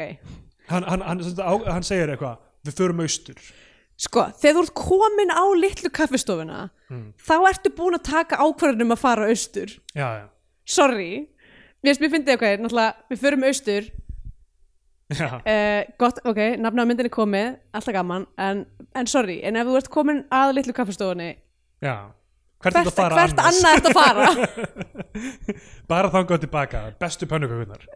[SPEAKER 2] hann, hann, hann, hann, hann segir eitthvað við förum austur
[SPEAKER 1] sko, þegar þú ert komin á litlu kaffistofuna
[SPEAKER 2] Mm.
[SPEAKER 1] þá ertu búin að taka ákvarðunum að fara austur
[SPEAKER 2] já, já,
[SPEAKER 1] sorry Mér finnst mér fyndið ok, náttúrulega, við förum austur,
[SPEAKER 2] já.
[SPEAKER 1] uh, gott, ok, nafna á myndinni komið, alltaf gaman, en, en sorry, en ef þú ert komin að litlu kaffistofunni,
[SPEAKER 2] Já, hvert
[SPEAKER 1] hvert,
[SPEAKER 2] er þetta að fara
[SPEAKER 1] hvert
[SPEAKER 2] annars?
[SPEAKER 1] annað ert að fara?
[SPEAKER 2] Bara þangað tilbaka, bestu pönnukökunar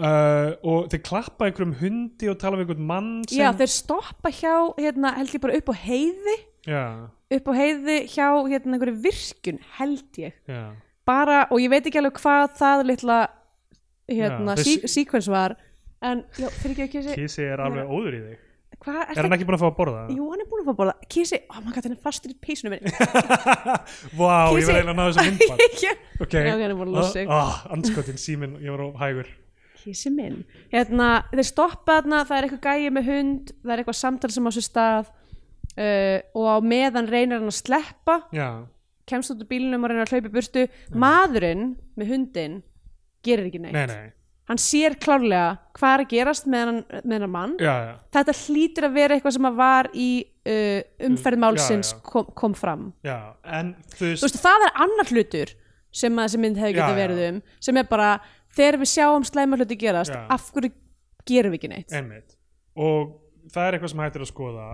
[SPEAKER 2] uh, Og þeir klappa einhverjum hundi og tala við einhvern mann sem
[SPEAKER 1] Já, þeir stoppa hjá, hérna, held ég bara upp á heiði,
[SPEAKER 2] já,
[SPEAKER 1] upp á heiði hjá, hérna, einhverju virkun, held ég.
[SPEAKER 2] já,
[SPEAKER 1] Bara, og ég veit ekki alveg hvað það litla, hérna,
[SPEAKER 2] Já,
[SPEAKER 1] sí,
[SPEAKER 2] þeir-
[SPEAKER 1] sequence var, en, já, fyrir ekki að kísi,
[SPEAKER 2] Kísi er alveg óður í þig
[SPEAKER 1] hvað er
[SPEAKER 2] Er
[SPEAKER 1] það?
[SPEAKER 2] hann ekki búin að fá að borða það?
[SPEAKER 1] Jú, hann er búin að fá að borða. Kísi, ó, oh maður gæti hann er fastur í písunum minni.
[SPEAKER 2] Vá, ég
[SPEAKER 1] Kísi-
[SPEAKER 2] var eiginlega að ná þessu myndband
[SPEAKER 1] Já.
[SPEAKER 2] Ok,
[SPEAKER 1] Já, ok, hann er búinn að losa sig.
[SPEAKER 2] ah, Anskotin símin, ég var á hægur
[SPEAKER 1] Kísi minn. Hérna, þeir stoppa þarna, það er eitthvað gæi með hund, það er eitthvað samtal sem á sér stað uh, og á meðan reynir hann að sleppa
[SPEAKER 2] Já,
[SPEAKER 1] kemst út úr bílunum og reyna að hlaupa í burtu maðurinn með hundin gerir ekki neitt,
[SPEAKER 2] nei, nei,
[SPEAKER 1] hann sér klárlega hvað er að gerast með hann, með hann mann
[SPEAKER 2] já, já
[SPEAKER 1] þetta hlýtur að vera eitthvað sem að var í uh, umferð
[SPEAKER 2] Já,
[SPEAKER 1] málsins
[SPEAKER 2] Mm, já.
[SPEAKER 1] Kom, kom fram
[SPEAKER 2] Já, en þú
[SPEAKER 1] þú
[SPEAKER 2] veist
[SPEAKER 1] veist, það er annar hlutur sem að þessi mynd hefur
[SPEAKER 2] Já,
[SPEAKER 1] getið
[SPEAKER 2] já.
[SPEAKER 1] verið um sem er bara, þegar við sjáum slæma hluti gerast,
[SPEAKER 2] Já.
[SPEAKER 1] af hverju gerum við ekki neitt
[SPEAKER 2] Einmitt. Og það er eitthvað sem hægt er að skoða.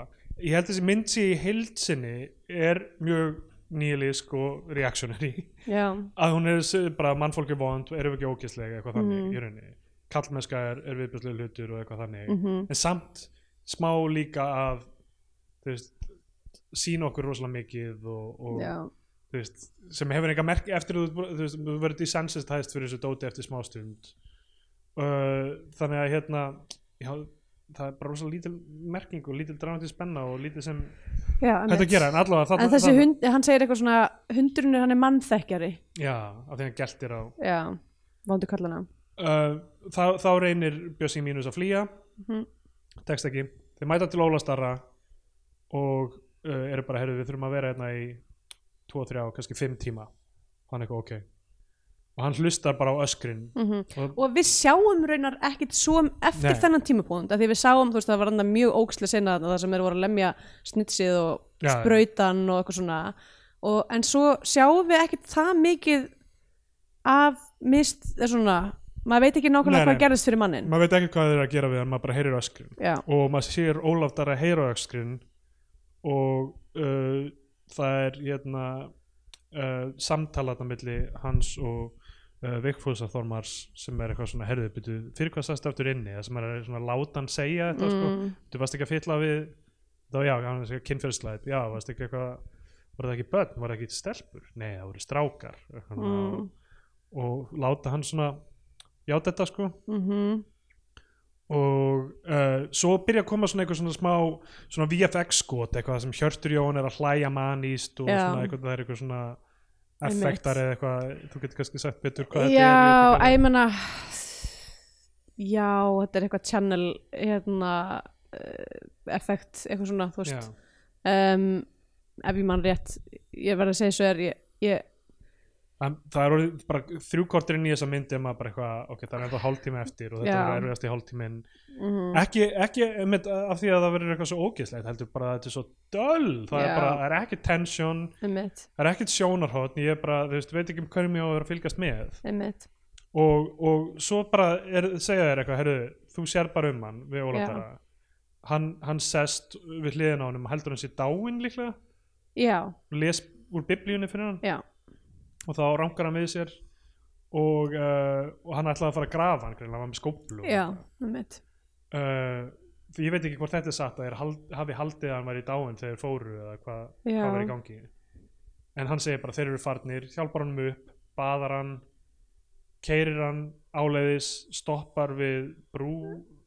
[SPEAKER 2] Ég held þessi mynd sé í heildsinni er mjög nýlísk og reactionary.
[SPEAKER 1] já,
[SPEAKER 2] Að hún er s- bara mannfólk er vond og erum við ekki ógæslega eitthvað þannig í rauninni. Kallmennska er, er viðbjörslega hlutur og eitthvað þannig.
[SPEAKER 1] Mm. Mhm.
[SPEAKER 2] En samt smá líka að þú veist, sína okkur rosalega mikið og, og
[SPEAKER 1] já,
[SPEAKER 2] þú veist, sem hefur enga merki eftir að þú, þú veist, þú verður desensitized fyrir þessu dóti eftir smástund uh, þannig að hérna já, það er bara rosa lítil merking og lítil dráðandi spenna og lítil sem
[SPEAKER 1] já
[SPEAKER 2] hægt að gera en allavega þarna-
[SPEAKER 1] en þessi
[SPEAKER 2] þarna-
[SPEAKER 1] hund, hann segir eitthvað svona hundurinn er hann er mannþekkjari
[SPEAKER 2] já, af því hann geltir á
[SPEAKER 1] já, vondu kallana
[SPEAKER 2] uh, þá, þá reynir Bjössi mínus að flýja
[SPEAKER 1] Mhm.
[SPEAKER 2] tekst ekki, þeir mæta til Ólastarra og uh, eru bara heyrðu við þurfum að vera hérna í 2-3, kannski 5 tíma hann eitthvað ok og hann hlustar bara á öskrin
[SPEAKER 1] mm
[SPEAKER 2] og
[SPEAKER 1] og við sjáum raunar ekkit svo um eftir
[SPEAKER 2] Nei.
[SPEAKER 1] þennan tímapúnt af því við sáum, þú veist, það var annað mjög ókslega sinna þarna þar sem þeir voru að lemja snitsið og
[SPEAKER 2] Já, já.
[SPEAKER 1] sprautan og eitthvað svona og, en svo sjáum við ekkit það mikið af mist, eða svona maður veit ekki nákvæmlega
[SPEAKER 2] Nei,
[SPEAKER 1] hvað
[SPEAKER 2] nei.
[SPEAKER 1] gerðist fyrir mannin
[SPEAKER 2] maður veit ekki hvað þeir eru að gera við hann maður bara heyrir öskrin
[SPEAKER 1] já,
[SPEAKER 2] og maður sér Ólaf þar að heyra öskrin og uh, það er hérna uh, samtalaðna milli hans og uh, Vigfúsa Þormars sem er eitthvað svona herðu byrju fyrir hvað sast aftur inni það sem er svona láta hann segja þetta
[SPEAKER 1] Mm.
[SPEAKER 2] sko, þú varst ekki að fylla við þá já, hann er svona kynfjörnslæð já, varst ekki eitthvað voru það ekki börn, voru það ekki stelpur nei, það voru strákar mm.
[SPEAKER 1] Mm.
[SPEAKER 2] og, og láta hann svona já þetta sko
[SPEAKER 1] mhm
[SPEAKER 2] og uh, svo byrja að koma svona eitthvað svona smá svona VFX skot eitthvað sem Hjörtur Jón er að hlæja maníst og
[SPEAKER 1] Já.
[SPEAKER 2] svona eitthvað það er eitthvað svona
[SPEAKER 1] Einmitt.
[SPEAKER 2] effektar eða eitthvað þú getur kannski sagt betur hvað
[SPEAKER 1] já,
[SPEAKER 2] þetta er
[SPEAKER 1] ég menna já, þetta er eitthvað channel hérna eh, effekt, eitthvað svona, þú veist
[SPEAKER 2] já,
[SPEAKER 1] um, ef ég man rétt ég verð að segja svo er ég, ég,
[SPEAKER 2] En það er orðið bara þrjúkortir inn í þessa myndi maður bara eitthvað, ok, það er enda hálftíma eftir og þetta
[SPEAKER 1] Já.
[SPEAKER 2] er erfiðast í hálftímin
[SPEAKER 1] mm,
[SPEAKER 2] ekki, ekki einmitt, af því að það verður eitthvað svo ógeðslegt heldur bara að þetta er svo döll það er
[SPEAKER 1] Já.
[SPEAKER 2] bara, það er ekki tension
[SPEAKER 1] einmitt,
[SPEAKER 2] það er ekkert sjónarhótt, ég er bara, þú veist, veit ekki um hverjum ég á að vera að fylgjast með
[SPEAKER 1] einmitt
[SPEAKER 2] og, og svo bara er, segja þér eitthvað, herru, þú sér bara um hann við Ólatara hann, hann sest við hliðin á honum heldur hann sér dáinn líklega
[SPEAKER 1] já,
[SPEAKER 2] og les úr biblíunni fyrir hann
[SPEAKER 1] já,
[SPEAKER 2] og þá rankar hann við sér og, uh, og hann ætlaði að fara að grafa hann greinlega hann var með skóplu
[SPEAKER 1] já, einmitt.
[SPEAKER 2] uh, því ég veit ekki hvort þetta er satt að þeir hald, hafi haldið að hann væri dáinn þegar þeir fóru eða hvað
[SPEAKER 1] Já.
[SPEAKER 2] hva var í gangi en hann segir bara þeir eru farnir hjálpar hann upp, baðar hann keirir hann áleiðis stoppar við brú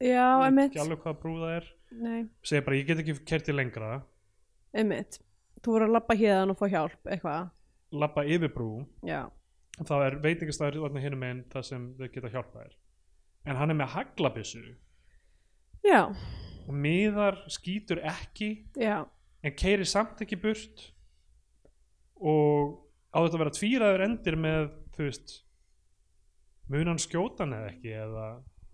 [SPEAKER 1] já, einmitt,
[SPEAKER 2] ekki alveg hvað brú það er
[SPEAKER 1] nei,
[SPEAKER 2] segir bara ég get ekki kerti lengra
[SPEAKER 1] einmitt þú voru að labba hérðan og fá hjálp eitthvað,
[SPEAKER 2] labba yfir brú
[SPEAKER 1] já,
[SPEAKER 2] og þá er veitingastæður þarna hinum einn það sem þau geta hjálpað þér en hann er með haglabissu
[SPEAKER 1] já,
[SPEAKER 2] og miðar skýtur ekki
[SPEAKER 1] já
[SPEAKER 2] en keirir samt ekki burt og á þetta að vera tvíraður endir með þú veist mun hann skjóta hann eða ekki eða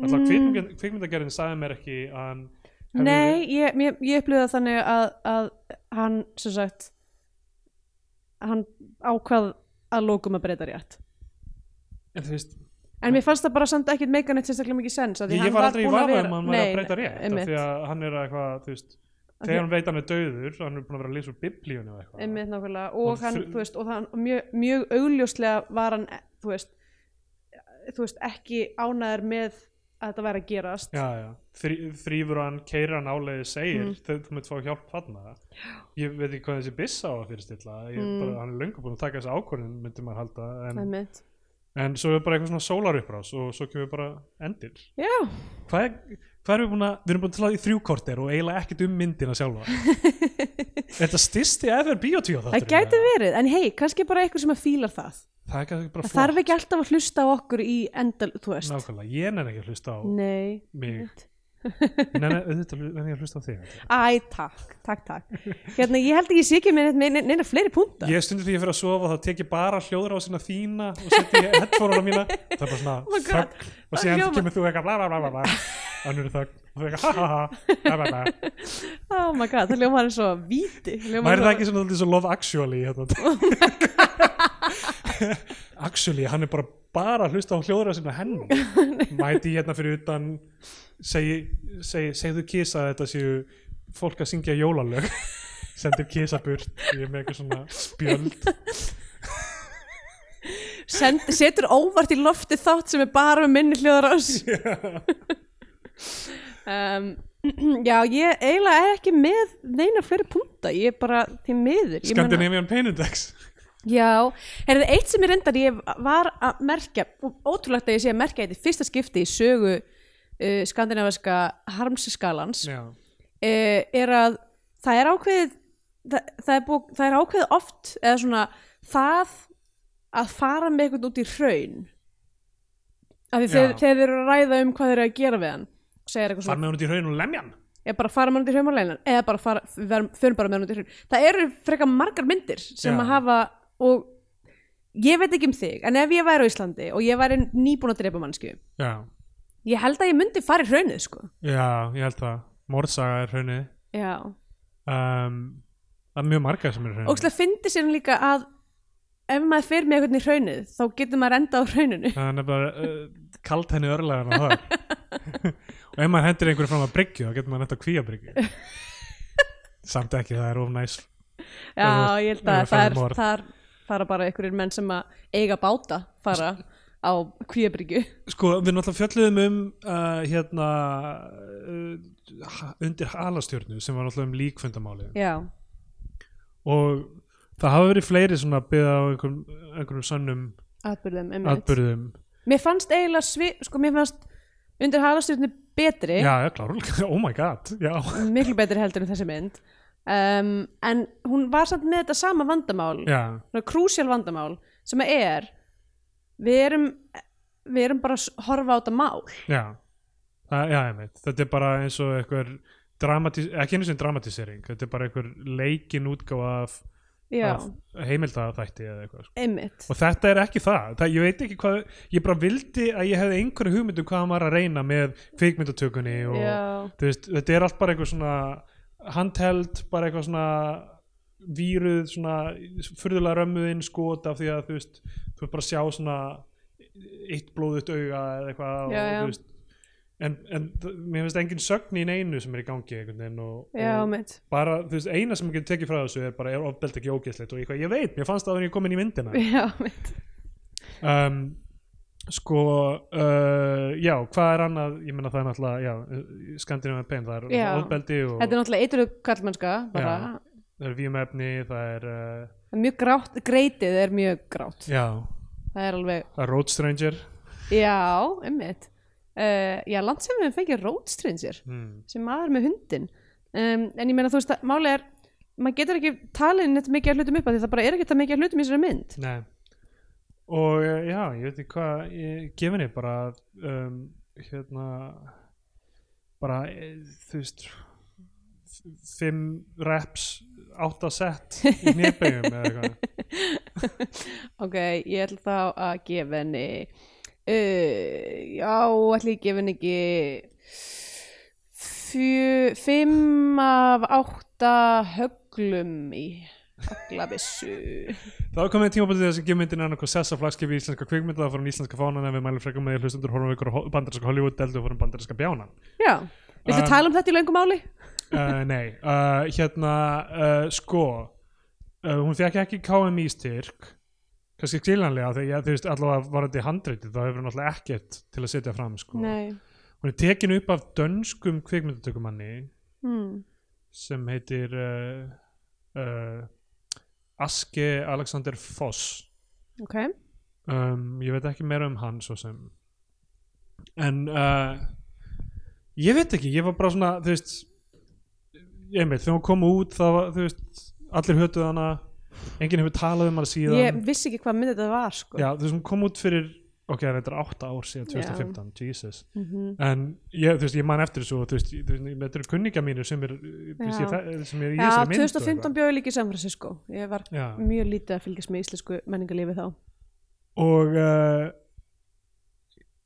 [SPEAKER 2] alltaf
[SPEAKER 1] Mm.
[SPEAKER 2] mm. kvikmyndagerðin sagði mér ekki að hann hefði-
[SPEAKER 1] Nei, ég, ég, ég upplýða þannig að, að hann, sem sagt hann ákvað að lókum að breyta rétt
[SPEAKER 2] en þú veist,
[SPEAKER 1] En mér fannst það bara samt ekkit meika neitt sérstaklega mikið sens af því
[SPEAKER 2] ég,
[SPEAKER 1] hann
[SPEAKER 2] ég var aldrei í
[SPEAKER 1] búinn
[SPEAKER 2] vafa
[SPEAKER 1] vera-
[SPEAKER 2] um að hann var að
[SPEAKER 1] Nei,
[SPEAKER 2] breyta rétt af
[SPEAKER 1] einmitt,
[SPEAKER 2] því að hann er eitthvað, þú veist
[SPEAKER 1] Af því-
[SPEAKER 2] þegar hann veit hann er döður hann er búin að vera að lesa úr biblíunni og eitthvað
[SPEAKER 1] einmitt nákvæmlega og
[SPEAKER 2] Og
[SPEAKER 1] hann,
[SPEAKER 2] þru-
[SPEAKER 1] þú veist, og hann mjög, mjög augljóslega var hann, þú veist þú veist, ekki ánæður með að þetta væri að gerast
[SPEAKER 2] já, já. Þrý, þrýfur hann, keirir hann áleiði segir
[SPEAKER 1] Mm.
[SPEAKER 2] þau þú möttu fá hjálp þarna ég veit ekki hvað þessi byssa á að fyrirstilla ég,
[SPEAKER 1] Mm.
[SPEAKER 2] bara, hann er löngu búin að taka þessi ákvörðin myndi maður halda en,
[SPEAKER 1] einmitt,
[SPEAKER 2] en svo er bara eitthvað svona sólarupprás og svo kemur bara endir
[SPEAKER 1] já,
[SPEAKER 2] hvað, er- hvað erum við búin að við erum búin að tala í þrjú korter og eiginlega ekkert um myndina sjálfa þetta styrsti efer bíotíu
[SPEAKER 1] það gæti verið en hei, kannski bara eitthvað sem að fílar það
[SPEAKER 2] það er kannski bara
[SPEAKER 1] það þarf
[SPEAKER 2] flott
[SPEAKER 1] ekki alltaf að hlusta á okkur í endal, þú veist
[SPEAKER 2] nákvæmlega, ég nenni ekki að hlusta á
[SPEAKER 1] nei,
[SPEAKER 2] mig
[SPEAKER 1] einmitt.
[SPEAKER 2] Ég nenni auðvitað nenni ég að hlusta á þig
[SPEAKER 1] æ, takk, takk, takk hérna, ég held ekki ég sé ekki með neitt- með neina fleiri púnta
[SPEAKER 2] ég stundir því að fyrir að sofa þá tek ég bara hljóður á sína þína og setja ég headphone á mína það er bara svona
[SPEAKER 1] Oh my God,
[SPEAKER 2] þögn og
[SPEAKER 1] það
[SPEAKER 2] síðan
[SPEAKER 1] hljómar-
[SPEAKER 2] kemur þú eitthvað bla bla bla bla bla annur þögn og þú eitthvað ha ha ha bla bla bla
[SPEAKER 1] oh my god, það ljómar eins og víti
[SPEAKER 2] væri það ekki svona alltaf svo love actually hérna?
[SPEAKER 1] Oh
[SPEAKER 2] actually hann er bara bara að hlusta á hljóður á sína henni mæti ég hérna fyrir utan segi, segi, segðu kisa að þetta séu fólk að syngja jólalög sendir kisa burt ég er með eitthvað svona spjöld
[SPEAKER 1] Send, setur óvart í lofti þátt sem er bara með minni hljóðarás um, já, ég eiginlega er ekki með neina fleiri punta, ég er bara til miður Ég meina-
[SPEAKER 2] Scandinavian Pain Index
[SPEAKER 1] Já, heyrðu, eitt sem ég reyndar ég var að merkja, og ótrúlegt að ég sé að merkja þetta í fyrsta skipti í sögu uh, skandinaviska harmsskalans uh,
[SPEAKER 2] já
[SPEAKER 1] er að það er ákveðið það, það, er búið, það er ákveðið oft eða svona það að fara með eitthvað út í hraun af því þegar,
[SPEAKER 2] Já.
[SPEAKER 1] þegar þeir eru að ræða um hvað þeir eru að gera við hann og segja eitthvað
[SPEAKER 2] fara
[SPEAKER 1] svona,
[SPEAKER 2] með hún út í hraun og lemja hann
[SPEAKER 1] eða bara fara með hann út í hraun á leinan eða bara fara, við verum- förum bara með hann út í hraun það eru frekar margar myndir sem
[SPEAKER 2] Já.
[SPEAKER 1] að hafa og ég veit ekki um þig, en ef ég væri á Íslandi og ég væri nýbúin að drepa mannsku
[SPEAKER 2] já,
[SPEAKER 1] ég held að ég myndi fara í hraunið sko
[SPEAKER 2] já, ég held það mórsaga er hraunni
[SPEAKER 1] já,
[SPEAKER 2] um, það er mjög marga sem er hraunni
[SPEAKER 1] og það fyndi sér líka að ef maður fer með eitthvað í hraunið þá getur maður enda á hrauninu
[SPEAKER 2] það er nefnilega uh, kalt henni örlegan og það og ef maður hendir einhverju fram að bryggju þá getur maður nefnt að kvíja bryggju samt ekki, það er of næs
[SPEAKER 1] Já, ég held að
[SPEAKER 2] Ef við
[SPEAKER 1] það
[SPEAKER 2] færum
[SPEAKER 1] er,
[SPEAKER 2] morð.
[SPEAKER 1] það er fara bara einhverjir menn sem að eiga báta fara á kvíabryggju
[SPEAKER 2] sko, við náttúrulega fjöldluðum um uh, hérna uh, ha- undir halastjörnu sem var náttúrulega um líkfundamáli
[SPEAKER 1] Já,
[SPEAKER 2] og það hafa verið fleiri svona byggða á einhverjum, einhverjum sönnum
[SPEAKER 1] atbyrðum, einmitt
[SPEAKER 2] atbyrðum
[SPEAKER 1] Mér fannst eiginlega svi, sko mér fannst undir halastjörnu betri
[SPEAKER 2] Já, já, klárlega, oh my god já.
[SPEAKER 1] miklu betri heldur en þessi mynd um, en hún var samt með þetta sama vandamál
[SPEAKER 2] Já,
[SPEAKER 1] svona krúsjál vandamál sem að er við erum við erum bara að horfa á þetta mál
[SPEAKER 2] já, það, já, ég veit þetta er bara eins og einhver dramatis, ekki einu sem dramatisering þetta er bara einhver leikin útgáfa af,
[SPEAKER 1] Já,
[SPEAKER 2] af heimildaþætti eða eitthvað sko.
[SPEAKER 1] einmitt
[SPEAKER 2] og þetta er ekki það, það, ég veit ekki hvað ég bara vildi að ég hefði einhverju hugmynd um hvað hann var að reyna með kvikmyndatökunni og
[SPEAKER 1] Já,
[SPEAKER 2] þú veist, þetta er allt bara einhver svona handheld, bara eitthvað svona víruð, svona furðulega römmuðinn skot af því að þú veist, þú er bara að sjá svona eitt blóðut auga eða eitthvað
[SPEAKER 1] Já,
[SPEAKER 2] og
[SPEAKER 1] já.
[SPEAKER 2] þú veist en, en þ- mér finnst engin sögn í neinu sem er í gangi einhvern veginn og,
[SPEAKER 1] já,
[SPEAKER 2] og
[SPEAKER 1] mitt
[SPEAKER 2] bara, þú veist, eina sem ég getur tekið frá þessu er bara, er ofbeld ekki ógeðslegt og eitthvað, ég veit, mér fannst það að vera ég kom inn í myndina
[SPEAKER 1] já, mitt
[SPEAKER 2] um, sko uh, já, hvað er annað ég meina það er náttúrulega, já, Scandinavian Pain það er
[SPEAKER 1] Já.
[SPEAKER 2] ofbeldi og
[SPEAKER 1] þetta er náttúrulega eitruðu kallmennska bara,
[SPEAKER 2] Já. það er vímefni, það er uh,
[SPEAKER 1] Það er mjög grátt, greitið er mjög grátt
[SPEAKER 2] já,
[SPEAKER 1] það er alveg,
[SPEAKER 2] það er Road Stranger
[SPEAKER 1] já, einmitt uh, já, land sem við fengið rótstrinsir
[SPEAKER 2] mm.
[SPEAKER 1] sem maður með hundin um, en ég meina þú veist að máli er maður getur ekki talið neitt mikið af hlutum upp af því það bara er ekki það mikið af hlutum í þessari mynd
[SPEAKER 2] Nei og eh, já, ég veit ekki hvað ég gef henni bara um, hérna bara, eh, þú veist f- fimm reps átta sett í nýrbegum eða eitthvað
[SPEAKER 1] ok, ég ætla þá að gefa henni uh, já, ætla ég að gefa henni ekki fjö, fimm af átta höglum í höglabissu
[SPEAKER 2] þá er komið tíma búin þess að gef myndin annarkoð sessa flagskip í íslenska kvikmynda það fórum íslenska fánan en við mælum frekar með því að hlustundur horfum við ykkur á ho- bandarinska Hollywood-deldu og fórum bandarinska bjánan
[SPEAKER 1] já, viltu
[SPEAKER 2] Um,
[SPEAKER 1] tala um þetta í löngu máli?
[SPEAKER 2] uh, nei, uh, hérna uh, sko uh, hún fekk ekki KMI styrk kannski skiljanlega þegar ég, þú veist allavega varandi handreitið þá hefur hún alltaf ekkert til að setja fram sko.
[SPEAKER 1] nei
[SPEAKER 2] hún er tekin upp af dönskum kvikmyndatökumanni
[SPEAKER 1] hmm.
[SPEAKER 2] sem heitir uh, uh, Aske Alexander Foss
[SPEAKER 1] ok,
[SPEAKER 2] um, ég veit ekki meira um hann svo sem en uh, ég veit ekki, ég var bara svona þú veist einmitt, þegar hún kom út það var, þú veist, allir hötuð hana enginn hefur talað um hana síðan
[SPEAKER 1] ég vissi ekki hvað mynd þetta var sko
[SPEAKER 2] já, þú veist, hún kom út fyrir ok, þetta er átta ár síðan 2015, Jesus
[SPEAKER 1] Mhm.
[SPEAKER 2] en ég, þú veist, ég man eftir þessu og þú veist, ég- þú veist, þetta eru kunningja mínir sem er, þú veist,
[SPEAKER 1] Já.
[SPEAKER 2] ég, þe- sem er í
[SPEAKER 1] Já,
[SPEAKER 2] þessari mynd og
[SPEAKER 1] 2015
[SPEAKER 2] eitthvað.
[SPEAKER 1] bjóði líka í San Francisco ég var
[SPEAKER 2] já,
[SPEAKER 1] mjög lítið að fylgjast með íslensku menningarlífi þá
[SPEAKER 2] og uh,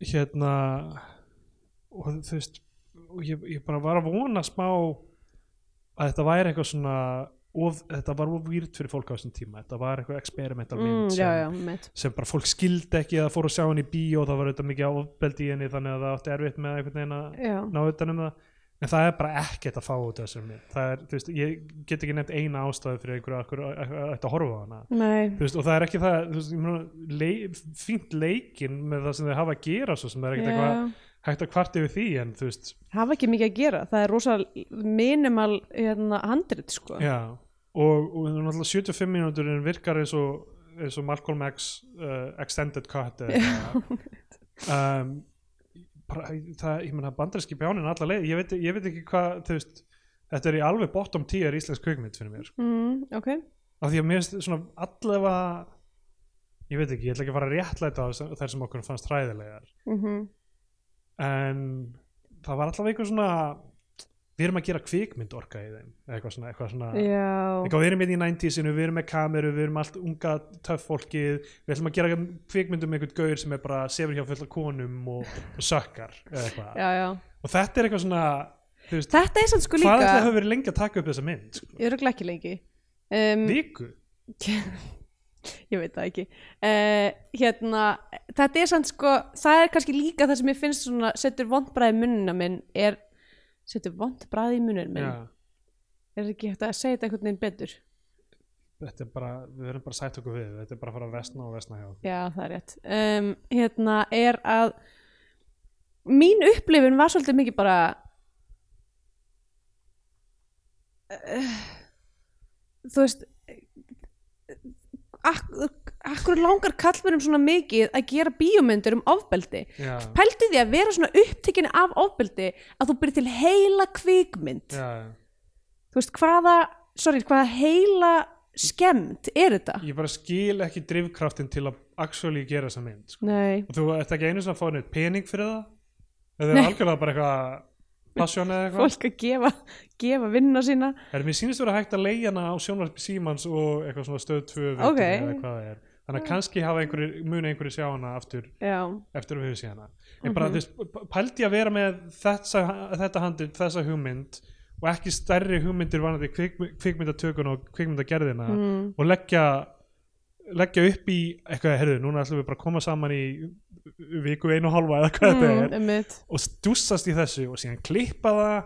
[SPEAKER 2] hérna og þú veist og ég, ég bara var að vona smá að þetta væri eitthvað svona of, þetta var of výrt fyrir fólk á þessum tíma þetta var eitthvað experimental mynd
[SPEAKER 1] mm, já,
[SPEAKER 2] sem,
[SPEAKER 1] já, mitt
[SPEAKER 2] sem bara fólk skildi ekki eða fór að sjá henni í bíó það var auðvitað mikið ofbeldi í henni þannig að það átti erfitt með einhvern veginn að
[SPEAKER 1] já,
[SPEAKER 2] ná utan um það en það er bara ekkert að fá út af þessum mynd það er, þú veist, ég get ekki nefnt eina ástæðu fyrir einhverju að- að að- að ætti að horfa á hana
[SPEAKER 1] nei,
[SPEAKER 2] þú veist, og það er ekki það þú veist, ég meina, leik, fínt leikinn með það sem þau hafa að gera svo sem það er ekkert eitthvað
[SPEAKER 1] já
[SPEAKER 2] hægt að kvart yfir því en þú veist,
[SPEAKER 1] hafa ekki mikið að gera, það er rosa minimal hérna, handrit sko
[SPEAKER 2] já og, og náttúrulega 75 mínútur en virkar eins og, eins og Malcolm X uh, extended cut eða eitthvað. um, bara, það, ég meina bandarinski bjánin alla leið, ég veit, ég veit ekki hvað þú veist, þetta er í alveg bottom 10 er íslensk kvikmynd fyrir mér, sko.
[SPEAKER 1] mm, ok,
[SPEAKER 2] af því að mér finnst svona allavega ég veit ekki, ég ætla ekki að fara að réttlæta það sem- þær sem okkur fannst hræðilegar
[SPEAKER 1] mhm
[SPEAKER 2] en það var allavega eitthvað svona við erum að gera kvikmynd orka í þeim eða eitthvað svona, eitthvað svona
[SPEAKER 1] já,
[SPEAKER 2] eitthvað, við erum með í 90sinu, við erum með kameru við erum allt unga töff fólkið við ætlum að gera kvikmynd um einhvern gaur sem er bara sefur hjá fullt af konum og, og sökkar eða eitthvað.
[SPEAKER 1] já, já
[SPEAKER 2] og þetta er eitthvað svona þú veist,
[SPEAKER 1] þetta er sann sko
[SPEAKER 2] hvað ætla að
[SPEAKER 1] líka,
[SPEAKER 2] hafa verið lengi að taka upp þessa mynd sko?
[SPEAKER 1] ég er ekki lengi um,
[SPEAKER 2] viku,
[SPEAKER 1] ég veit það ekki uh, hérna, þetta er sann sko það er kannski líka það sem ég finnst svona setur vondbræði munnina minn er setur vondbræði í munnina minn
[SPEAKER 2] já,
[SPEAKER 1] er ekki hægt að segja þetta einhvern veginn betur
[SPEAKER 2] þetta er bara við erum bara að sæta okkur við, þetta er bara að fara að vesna og vesna hjá okkur
[SPEAKER 1] já það er rétt um, hérna er að mín upplifun var svolítið mikið bara uh, þú veist ak akkur langar kallmennum svona mikið að gera bíómyndir um ofbeldi
[SPEAKER 2] já,
[SPEAKER 1] pældu því að vera svona upptekin af ofbeldi að þú byrði til heila kvikmynd
[SPEAKER 2] já,
[SPEAKER 1] þú veist hvaða, sorry, hvaða heila skemmt er þetta
[SPEAKER 2] ég bara skil ekki drifkraftin til að actually gera þessa mynd sko.
[SPEAKER 1] Nei,
[SPEAKER 2] og þú ert ekki einu sem að fá neitt pening fyrir það eða það er
[SPEAKER 1] Nei.
[SPEAKER 2] algjörlega bara eitthvað passjón eða eitthvað
[SPEAKER 1] fólk að gefa, gefa vinnuna sína
[SPEAKER 2] er mér sýnist vera hægt að leiða hana á sjónvarpi símans og eitthvað svona stöð 2
[SPEAKER 1] Ok.
[SPEAKER 2] okay. eða hvað það er þannig að kannski hafa einhverju, muni einhverju sjá hana aftur
[SPEAKER 1] Já,
[SPEAKER 2] eftir að við höfum séð hana en
[SPEAKER 1] Mhm.
[SPEAKER 2] bara, þú veist, pældi ég að vera með þessa, þetta handið, þessa hugmynd og ekki stærri hugmyndir vanandi kvik, kvikmyndatökun og kvikmyndagerðina
[SPEAKER 1] mm,
[SPEAKER 2] og leggja leggja upp í eitthvað, herðu, núna ætlum við bara að koma saman í viku einu og hálfa eða hvað
[SPEAKER 1] Mhm.
[SPEAKER 2] þetta er
[SPEAKER 1] Mm, einmitt.
[SPEAKER 2] og stússast í þessu og síðan klippa það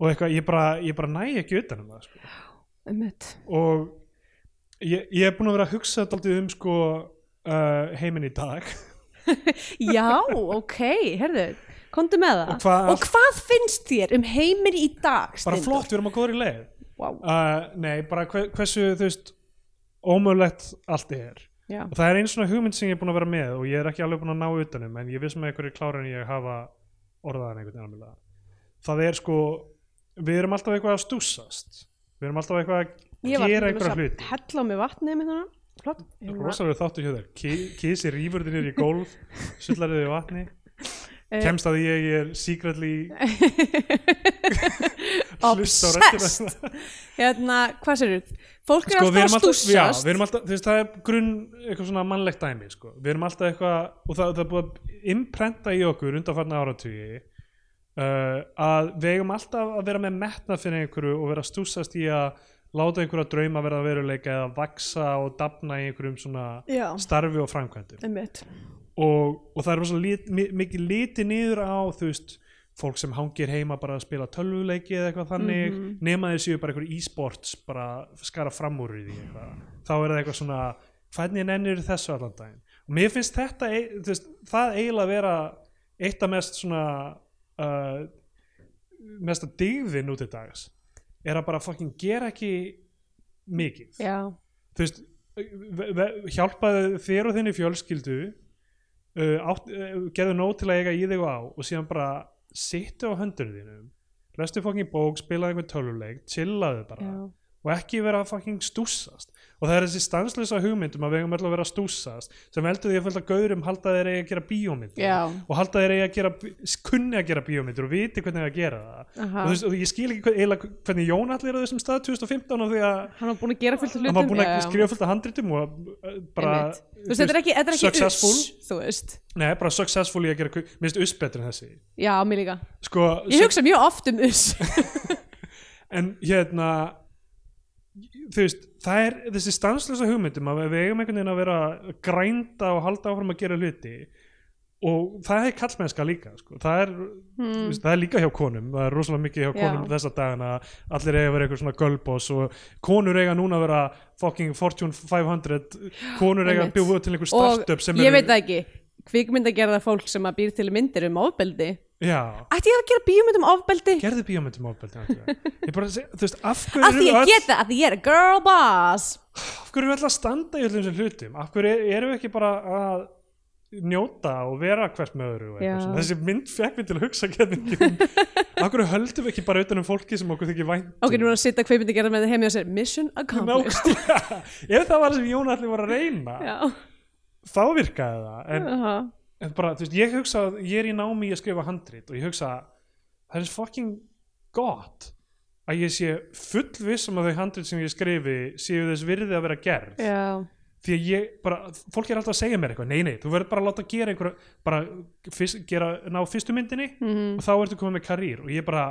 [SPEAKER 2] og eitthvað, ég bara, ég bara næ ekki utan um það sko.
[SPEAKER 1] Einmitt.
[SPEAKER 2] og ég, ég er búin að vera að hugsa þetta um sko uh, heiminn í dag
[SPEAKER 1] Já, ok, herðu, komdu með það.
[SPEAKER 2] Og
[SPEAKER 1] Ah,
[SPEAKER 2] hvað-
[SPEAKER 1] og hvað finnst þér um heiminn í dag,
[SPEAKER 2] bara
[SPEAKER 1] Steindór?
[SPEAKER 2] flott, við erum á góðri leið
[SPEAKER 1] Vá,
[SPEAKER 2] uh, nei, bara hve, hversu þú veist, ómögulegt allt er
[SPEAKER 1] já,
[SPEAKER 2] og það er einn svona hugmynd sem ég er búin að vera með og ég er ekki alveg búin að ná utanum en ég vissum að einhverju klára en ég hafa orðaðan einhvern veginn alveg. það er sko, við erum alltaf eitthvað að stúsast við erum alltaf eitthvað
[SPEAKER 1] Ég
[SPEAKER 2] að
[SPEAKER 1] var til
[SPEAKER 2] gera
[SPEAKER 1] dæmis
[SPEAKER 2] einhverja
[SPEAKER 1] að
[SPEAKER 2] hluti
[SPEAKER 1] hella á mig vatnið með þarna. Flott. Ég var-
[SPEAKER 2] rosalega þáttu hjá þér, Ki- kisi rýfur þér niður í gólf sullar þér í vatni
[SPEAKER 1] Eh.
[SPEAKER 2] kemst að því ég er secretly hlusta á
[SPEAKER 1] Obsessed.
[SPEAKER 2] restina
[SPEAKER 1] Hérna, hvað sér þú? Fólk er
[SPEAKER 2] sko,
[SPEAKER 1] alltaf
[SPEAKER 2] við erum
[SPEAKER 1] að
[SPEAKER 2] alltaf, já,
[SPEAKER 1] stússast.
[SPEAKER 2] við erum alltaf þú veist, það er grunn eitthvað svona mannlegt dæmi sko. við erum alltaf eitthvað og það, það er búið að imprenta í okkur undanfarna áratugi uh, að við eigum alltaf að vera með metna fyrir einhverju og vera stúsast í að láta einhverja drauma verða að veruleika eða vaksa og dafna í einhverjum svona
[SPEAKER 1] Já.
[SPEAKER 2] starfi og framkvæmdum
[SPEAKER 1] Einmitt.
[SPEAKER 2] og, og það er rosa lit, mi- mikið liti niður á þú veist fólk sem hangir heima bara að spila tölvuleiki eða eitthvað þannig nema þeir séu bara einhver e-sports bara skara fram úr í því eitthvað þá er það eitthvað svona hvernig nennir þessu allan daginn og mér finnst þetta ei- þú veist, það eiginlega að vera eitt af mest svona uh, mesta dygðin út í dags er að bara fucking gera ekki mikið
[SPEAKER 1] Já,
[SPEAKER 2] þú veist ve- ve- hjálpaðu þér og þinni fjölskyldu uh, átt, uh, gerðu nóg til að eiga í þig og á og síðan bara sittu á höndunum þínum lestu fokkin bók, spilaðu einhver töluleik chillaðu bara
[SPEAKER 1] já.
[SPEAKER 2] og ekki vera að fucking stússast og það er þessi stanslösa hugmyndum að við eigum öll að vera að stússast sem veldur því að fylgta gaurum halda þeir eigi að gera bíómyndir
[SPEAKER 1] Já.
[SPEAKER 2] og halda þeir eigi að gera bí- kunni að gera bíómyndir og viti hvernig það gera
[SPEAKER 1] Aha.
[SPEAKER 2] það og, þú veist, og ég skil ekki hvað- eiginlega hvernig Jón allir er á þessum stað 2015 og því að
[SPEAKER 1] Hann var búin að gera fullt af hlutum.
[SPEAKER 2] hann var búinn að
[SPEAKER 1] já.
[SPEAKER 2] skrifa fullt af handritum og uh, bara
[SPEAKER 1] Einmitt. Þú veist, þetta er ekki, þetta er ekki
[SPEAKER 2] successful
[SPEAKER 1] uss, þú veist.
[SPEAKER 2] nei, bara successful í að gera mér finnst uss betur en þessi
[SPEAKER 1] Já, mér líka.
[SPEAKER 2] sko,
[SPEAKER 1] Ég hugsa mjög oft um uss.
[SPEAKER 2] en hérna þú veist, það er þessi stanslösa hugmyndum að við eigum einhvern veginn að vera að grænda og halda áfram að gera hluti og það er kallmennska líka sko. það, er, þú
[SPEAKER 1] Hmm.
[SPEAKER 2] veist, það er líka hjá konum það er rosalega mikið hjá konum
[SPEAKER 1] Mm. Já.
[SPEAKER 2] þessa dagana allir eiga að vera einhver svona gölbos og konur eiga núna að vera fucking Fortune 500 konur eiga
[SPEAKER 1] Einmitt.
[SPEAKER 2] að bjóða til einhver
[SPEAKER 1] og
[SPEAKER 2] startup sem
[SPEAKER 1] ég
[SPEAKER 2] eru-
[SPEAKER 1] veit það ekki kvikmyndagerða fólk sem að býr til myndir um ofbeldi
[SPEAKER 2] Já,
[SPEAKER 1] ætti ég að gera bíómynd um ofbeldi
[SPEAKER 2] gerðu bíómyndum ofbeldi Andrea. Ég bara seg, þú veist, af
[SPEAKER 1] af því
[SPEAKER 2] hverju erum
[SPEAKER 1] ég
[SPEAKER 2] við
[SPEAKER 1] get
[SPEAKER 2] öll,
[SPEAKER 1] það, af því ég er girl boss
[SPEAKER 2] af hverju erum við öll að standa í öllum þessum hlutum, af hverju erum við ekki bara að njóta og vera hvert með öðru
[SPEAKER 1] Já.
[SPEAKER 2] og eitthvað svona. þessi mynd fekk við til að hugsa getningum af hverju höldum við ekki bara utan um fólki sem okkur þykir vænt um?
[SPEAKER 1] ok, nú er að sitta kvikmyndagerða með heim hjá sér mission accomplished
[SPEAKER 2] Nákvæmlega. ef það var það sem Jón allir var að reyna
[SPEAKER 1] já,
[SPEAKER 2] þá virkaði það en,
[SPEAKER 1] aha,
[SPEAKER 2] en bara, þú veist, ég hugsa að ég er í námi í að skrifa handrit og ég hugsa að það er fucking gott að ég sé full vissum að þau handrit sem ég skrifi séu þess virði að vera gerð
[SPEAKER 1] já,
[SPEAKER 2] því að ég bara, fólk er alltaf að segja mér eitthvað nei, nei, þú verður bara að láta gera einhverja bara fyrst, gera, ná fyrstu myndinni
[SPEAKER 1] Mhm.
[SPEAKER 2] og þá ertu komið með karýr og ég bara,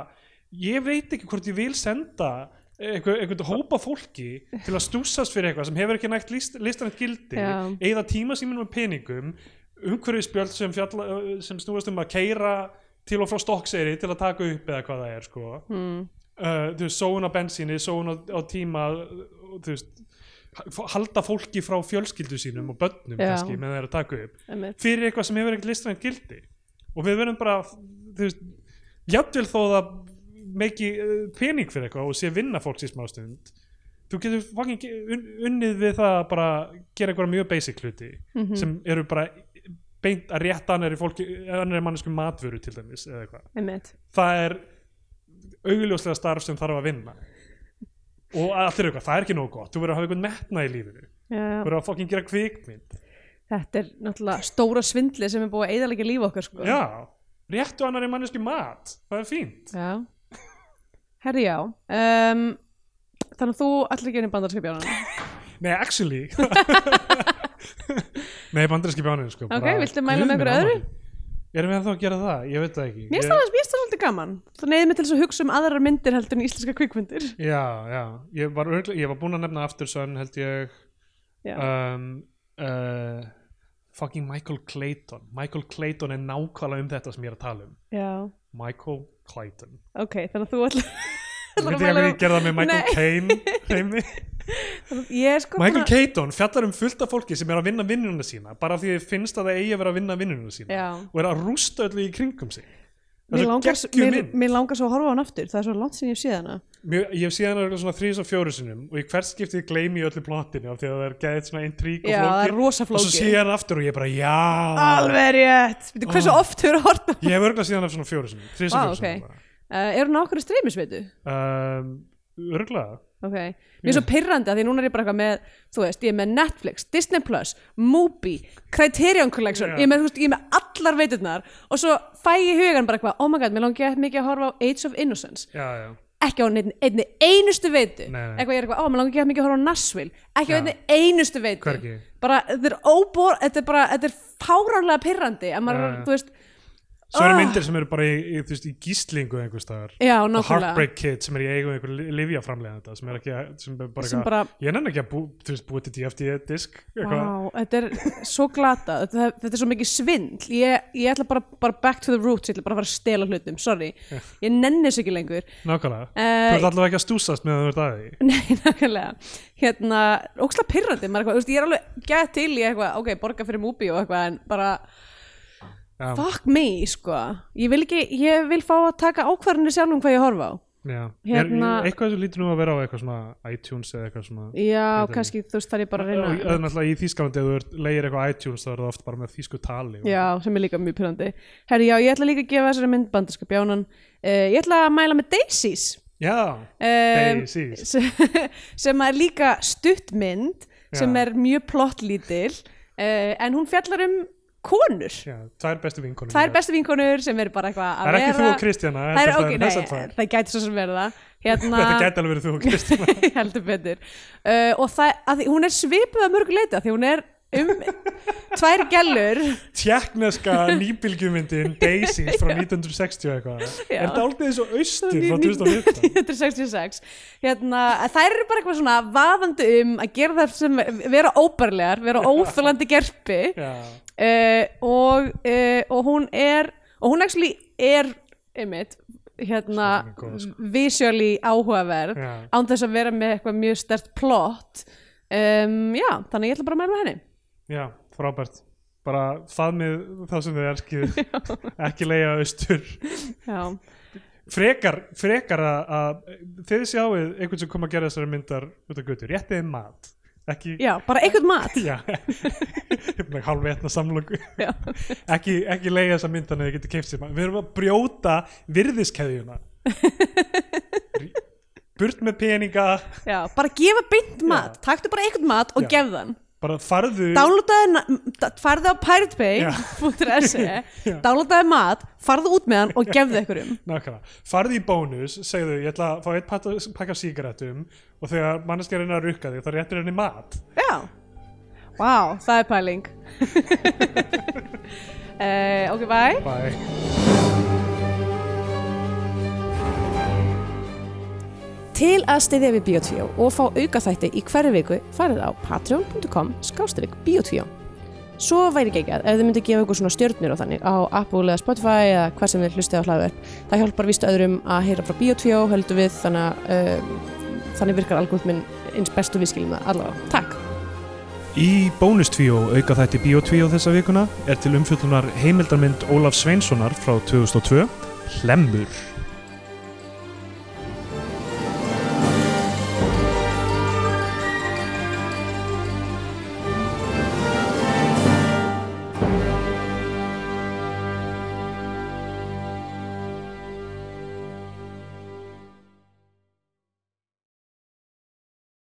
[SPEAKER 2] ég veit ekki hvort ég vil senda einhver, einhvern hópa fólki til að stúsast fyrir eitthvað sem hefur ekki nægt list, listanett gildi
[SPEAKER 1] Já.
[SPEAKER 2] eða tíma sínum og peningum umhverfisbjöld sem, fjalla, sem snúast um að keira til og frá stokkseri til að taka upp eða hvað það er sko
[SPEAKER 1] mm.
[SPEAKER 2] uh, þú veist, sóun á bensíni, sóun á, á tíma uh, þú veist h- halda fólki frá fjölskyldu sínum og börnum
[SPEAKER 1] Já.
[SPEAKER 2] kannski með þeir að taka upp
[SPEAKER 1] einmitt.
[SPEAKER 2] fyrir eitthvað sem hefur ekkert listrænt gildi og við verðum bara þú veist, jafnvel þó það meiki uh, pening fyrir eitthvað og sé vinna fólks í smá stund þú getur fucking ge- un- unnið við það að bara gera eitthvað mjög basic hluti
[SPEAKER 1] Mhm.
[SPEAKER 2] sem eru bara beint að rétta annari fólki, annari mannesku matvöru til dæmis eða eitthvað
[SPEAKER 1] einmitt
[SPEAKER 2] það er augljóslega starf sem þarf að vinna og allir eru eitthvað, það er ekki nógu gott þú verður að hafa einhvern metna í lífinu þú
[SPEAKER 1] já, já.
[SPEAKER 2] verður að fokkin gera kvikmynd
[SPEAKER 1] þetta er náttúrulega stóra svindli sem er búið að eðalega lífa okkar sko.
[SPEAKER 2] já, réttu annar í manneski mat það er fínt
[SPEAKER 1] já. herri já um, þannig að þú allir gerir bandarskipjána
[SPEAKER 2] nei, actually nei, bandarinski bjánið sko,
[SPEAKER 1] Ok,
[SPEAKER 2] bara-
[SPEAKER 1] viltu mæla með
[SPEAKER 2] Guð minn
[SPEAKER 1] einhverju öðru?
[SPEAKER 2] almáttugur. erum við ennþá að gera það, ég veit það ekki
[SPEAKER 1] Mér
[SPEAKER 2] Ég-
[SPEAKER 1] finnst það- mér finnst það svolítið gaman. Það neyði mig til þess að hugsa um aðrar myndir heldur en íslenska kvikmyndir.
[SPEAKER 2] já, já, ég var, örgla, ég var búin að nefna aftur held ég
[SPEAKER 1] Já.
[SPEAKER 2] um, uh, fucking Michael Clayton Michael Clayton er nákvæmlega um þetta sem ég er að tala um
[SPEAKER 1] já,
[SPEAKER 2] Michael Clayton
[SPEAKER 1] ok, þannig að þú ætlar
[SPEAKER 2] Ég
[SPEAKER 1] ætlar
[SPEAKER 2] veit
[SPEAKER 1] að mæla-
[SPEAKER 2] ekki að hvernig ég gerði það með Michael Caine hreimi.
[SPEAKER 1] ég er sko
[SPEAKER 2] Michael Caton fjallar um fullt af fólki sem er að vinna vinnununa sína bara af því þið finnst að það eigi að vera að vinna vinnununa sína
[SPEAKER 1] Já.
[SPEAKER 2] og er að rústa öllu í kringum sig
[SPEAKER 1] mér langar, s-
[SPEAKER 2] geggjum
[SPEAKER 1] mér, mér langar svo að horfa á hann aftur það er svo langt sem ég hef séð hana
[SPEAKER 2] Mjög, ég hef síðan eitthvað svona þrís og fjóru sinnum og í hvert skiptið gleymi ég öllu plottinu af því að það er gæðið svona intrík og
[SPEAKER 1] Já, það er Ah.
[SPEAKER 2] flókið
[SPEAKER 1] rosa
[SPEAKER 2] og svo
[SPEAKER 1] flókið.
[SPEAKER 2] síðan aftur og ég bara já
[SPEAKER 1] alveg rétt, Veitu, hversu
[SPEAKER 2] Ah.
[SPEAKER 1] oft hefur hort
[SPEAKER 2] ég hef örglað síðan af svona fjóru sinnum þrís og
[SPEAKER 1] Vá,
[SPEAKER 2] fjóru
[SPEAKER 1] Ah, ok.
[SPEAKER 2] sinnum bara.
[SPEAKER 1] uh, er hún á okkur streymisveitu?
[SPEAKER 2] um, örglað
[SPEAKER 1] ok, mér er svo pyrrandi að því núna er ég bara eitthvað með þú veist, ég er með Netflix, Disney Plus Mubi, Criterion Collection
[SPEAKER 2] Já.
[SPEAKER 1] ég, er með, þú veist, ég er með allar veiturnar og svo fæ ég í hugan bara eitthvað oh my god, mér langi mikið að horfa á Age of Innocence
[SPEAKER 2] já, já,
[SPEAKER 1] ekki á einni, einni einustu veitu
[SPEAKER 2] Nei, nei.
[SPEAKER 1] eitthvað ég er eitthvað, á, maður langar ekki að mikið að horfa á Nashville ekki á
[SPEAKER 2] Já.
[SPEAKER 1] einni einustu veitu
[SPEAKER 2] Hvergi.
[SPEAKER 1] bara, þetta er óbor þetta er bara, þetta er fáránlega pirrandi að maður,
[SPEAKER 2] Já, já.
[SPEAKER 1] þú veist,
[SPEAKER 2] svo eru
[SPEAKER 1] Ah.
[SPEAKER 2] myndir sem eru bara í, í, þú veist, í gíslingu einhvers staðar
[SPEAKER 1] já,
[SPEAKER 2] og
[SPEAKER 1] nákvæmlega
[SPEAKER 2] Heartbreak Kid sem er í eigum einhver livja framlega sem er ekki að- sem er bara,
[SPEAKER 1] Sem
[SPEAKER 2] eitthvað-
[SPEAKER 1] bara-
[SPEAKER 2] ég nenni ekki að bú, þú veist, búið til DFD disk eitthvað
[SPEAKER 1] Vá, þetta er svo glata þetta, þetta er svo mikið svindl ég, ég ætla bara, bara back to the roots ég ætla bara að fara að stela hlutum, sorry ég nenni þessu ekki lengur
[SPEAKER 2] nákvæmlega,
[SPEAKER 1] Eh,
[SPEAKER 2] þú ert allavega ekki að stúsast meðan þú ert að því
[SPEAKER 1] Nei, nákvæmlega hérna, óksla pirrandi, maður eitthvað, þú veist, ég er alveg gett til í eitthvað, ok, borga fyrir múbi og eitthvað, en bara,
[SPEAKER 2] Já.
[SPEAKER 1] fuck me, sko ég vil ekki, ég vil fá að taka ákvarðinu sjálf um hvað ég horfa á
[SPEAKER 2] Já,
[SPEAKER 1] Hérna-
[SPEAKER 2] er, eitthvað sem lítur nú að vera á eitthvað svona iTunes eða eitthvað svona
[SPEAKER 1] já,
[SPEAKER 2] Þetta er-
[SPEAKER 1] kannski, þú veist, það er bara að
[SPEAKER 2] Og-
[SPEAKER 1] reyna
[SPEAKER 2] eða náttúrulega í Þýskalandi ef þú leir eitthvað á iTunes þá er það oft bara með þýsku tali og-
[SPEAKER 1] Já, sem er líka mjög pyrrandi Herri, já, ég ætla líka að gefa þessari mynd banderska bjánan uh, Ég ætla að mæla með Daisies
[SPEAKER 2] Já,
[SPEAKER 1] um,
[SPEAKER 2] Daisies.
[SPEAKER 1] sem, sem er líka stuttmynd sem
[SPEAKER 2] Já.
[SPEAKER 1] er mjög plottlítil uh, en hún fjallar um konur
[SPEAKER 2] já tvær bestu vinkonum
[SPEAKER 1] það er bestu vinkonur sem er bara eitthvað
[SPEAKER 2] Það
[SPEAKER 1] að
[SPEAKER 2] er ekki
[SPEAKER 1] vera
[SPEAKER 2] þú og Kristjana
[SPEAKER 1] það er,
[SPEAKER 2] heldur
[SPEAKER 1] ok,
[SPEAKER 2] þessar tvær.
[SPEAKER 1] nei, það gæti svo sem verða hérna,
[SPEAKER 2] Þetta gæti alveg verið þú og Kristjana
[SPEAKER 1] heldur betur uh, og það, að því, hún er svipuð að mörg leita því hún er um tvær gælur
[SPEAKER 2] Tjekkneska nýbylgjumyndin Daisies frá 1960 eitthvað
[SPEAKER 1] Já.
[SPEAKER 2] Er þetta aldrei eins og austur frá 2015?
[SPEAKER 1] 1966 hérna, að þær eru bara eitthvað svona vaðandi um að gera þær sem vera óbærlegar, vera óþólandi gerpi
[SPEAKER 2] Já,
[SPEAKER 1] uh, og, uh, og hún er og hún actually er einmitt, hérna
[SPEAKER 2] Svo góð, sko.
[SPEAKER 1] visually áhugaverð
[SPEAKER 2] Já.
[SPEAKER 1] án þess að vera með eitthvað mjög stert plott um, já, þannig að ég ætla bara að mæla með henni
[SPEAKER 2] já, frábært Bara faðmið þá sem þið elskið Ekki leiða austur
[SPEAKER 1] já,
[SPEAKER 2] frekar, frekar að, að þið sjáuð einhvern sem kom að gera þessari myndar út af götu, réttið þeim mat ekki,
[SPEAKER 1] já bara eitthvað mat
[SPEAKER 2] já Hérna með hálfvetna samlöku
[SPEAKER 1] já.
[SPEAKER 2] ekki, ekki leiða þessa myndan eða þið getur keift sér mat. við erum að brjóta virðiskeðjuna Rí- burt með peninga
[SPEAKER 1] já, bara gefa beint mat
[SPEAKER 2] Já.
[SPEAKER 1] taktu bara eitthvað mat og
[SPEAKER 2] Já.
[SPEAKER 1] gef þann
[SPEAKER 2] bara farðu
[SPEAKER 1] downloadaði, na- da- farðu á
[SPEAKER 2] Já.
[SPEAKER 1] piratepay.se
[SPEAKER 2] Já.
[SPEAKER 1] downloadaði E, mat, farðu út með hann og gefðu ykkur um
[SPEAKER 2] Nákvæmlega. Farði í bónus, segðu ég ætla að fá eitt pakka, pakka sígarettum og þegar manneskja reyna að rukka þig þá réttir henni mat
[SPEAKER 1] Já, vá, það er pæling uh, Ok, bye
[SPEAKER 2] Bye.
[SPEAKER 1] Til að stiðja við Bíotvíó og fá auka þætti í hverju viku farið á patreon.com skástrík Bíotvíó Svo væri geggjað ef þið myndu gefa ykkur svona stjörnir og þannig á Apple eða Spotify eða hvað sem þið hlustið á hlaðverk Það hjálpar víst öðrum að heyra frá Bíotvíó höldum við þannig að um, þannig virkar algoritminn eins best og við skiljum það allavega Takk
[SPEAKER 2] Í bónustvíó auka þætti Bíotvíó þessa vikuna er til umfjöllunar heimildarmynd Ólaf Sveinssonar frá 2002 Hlemmur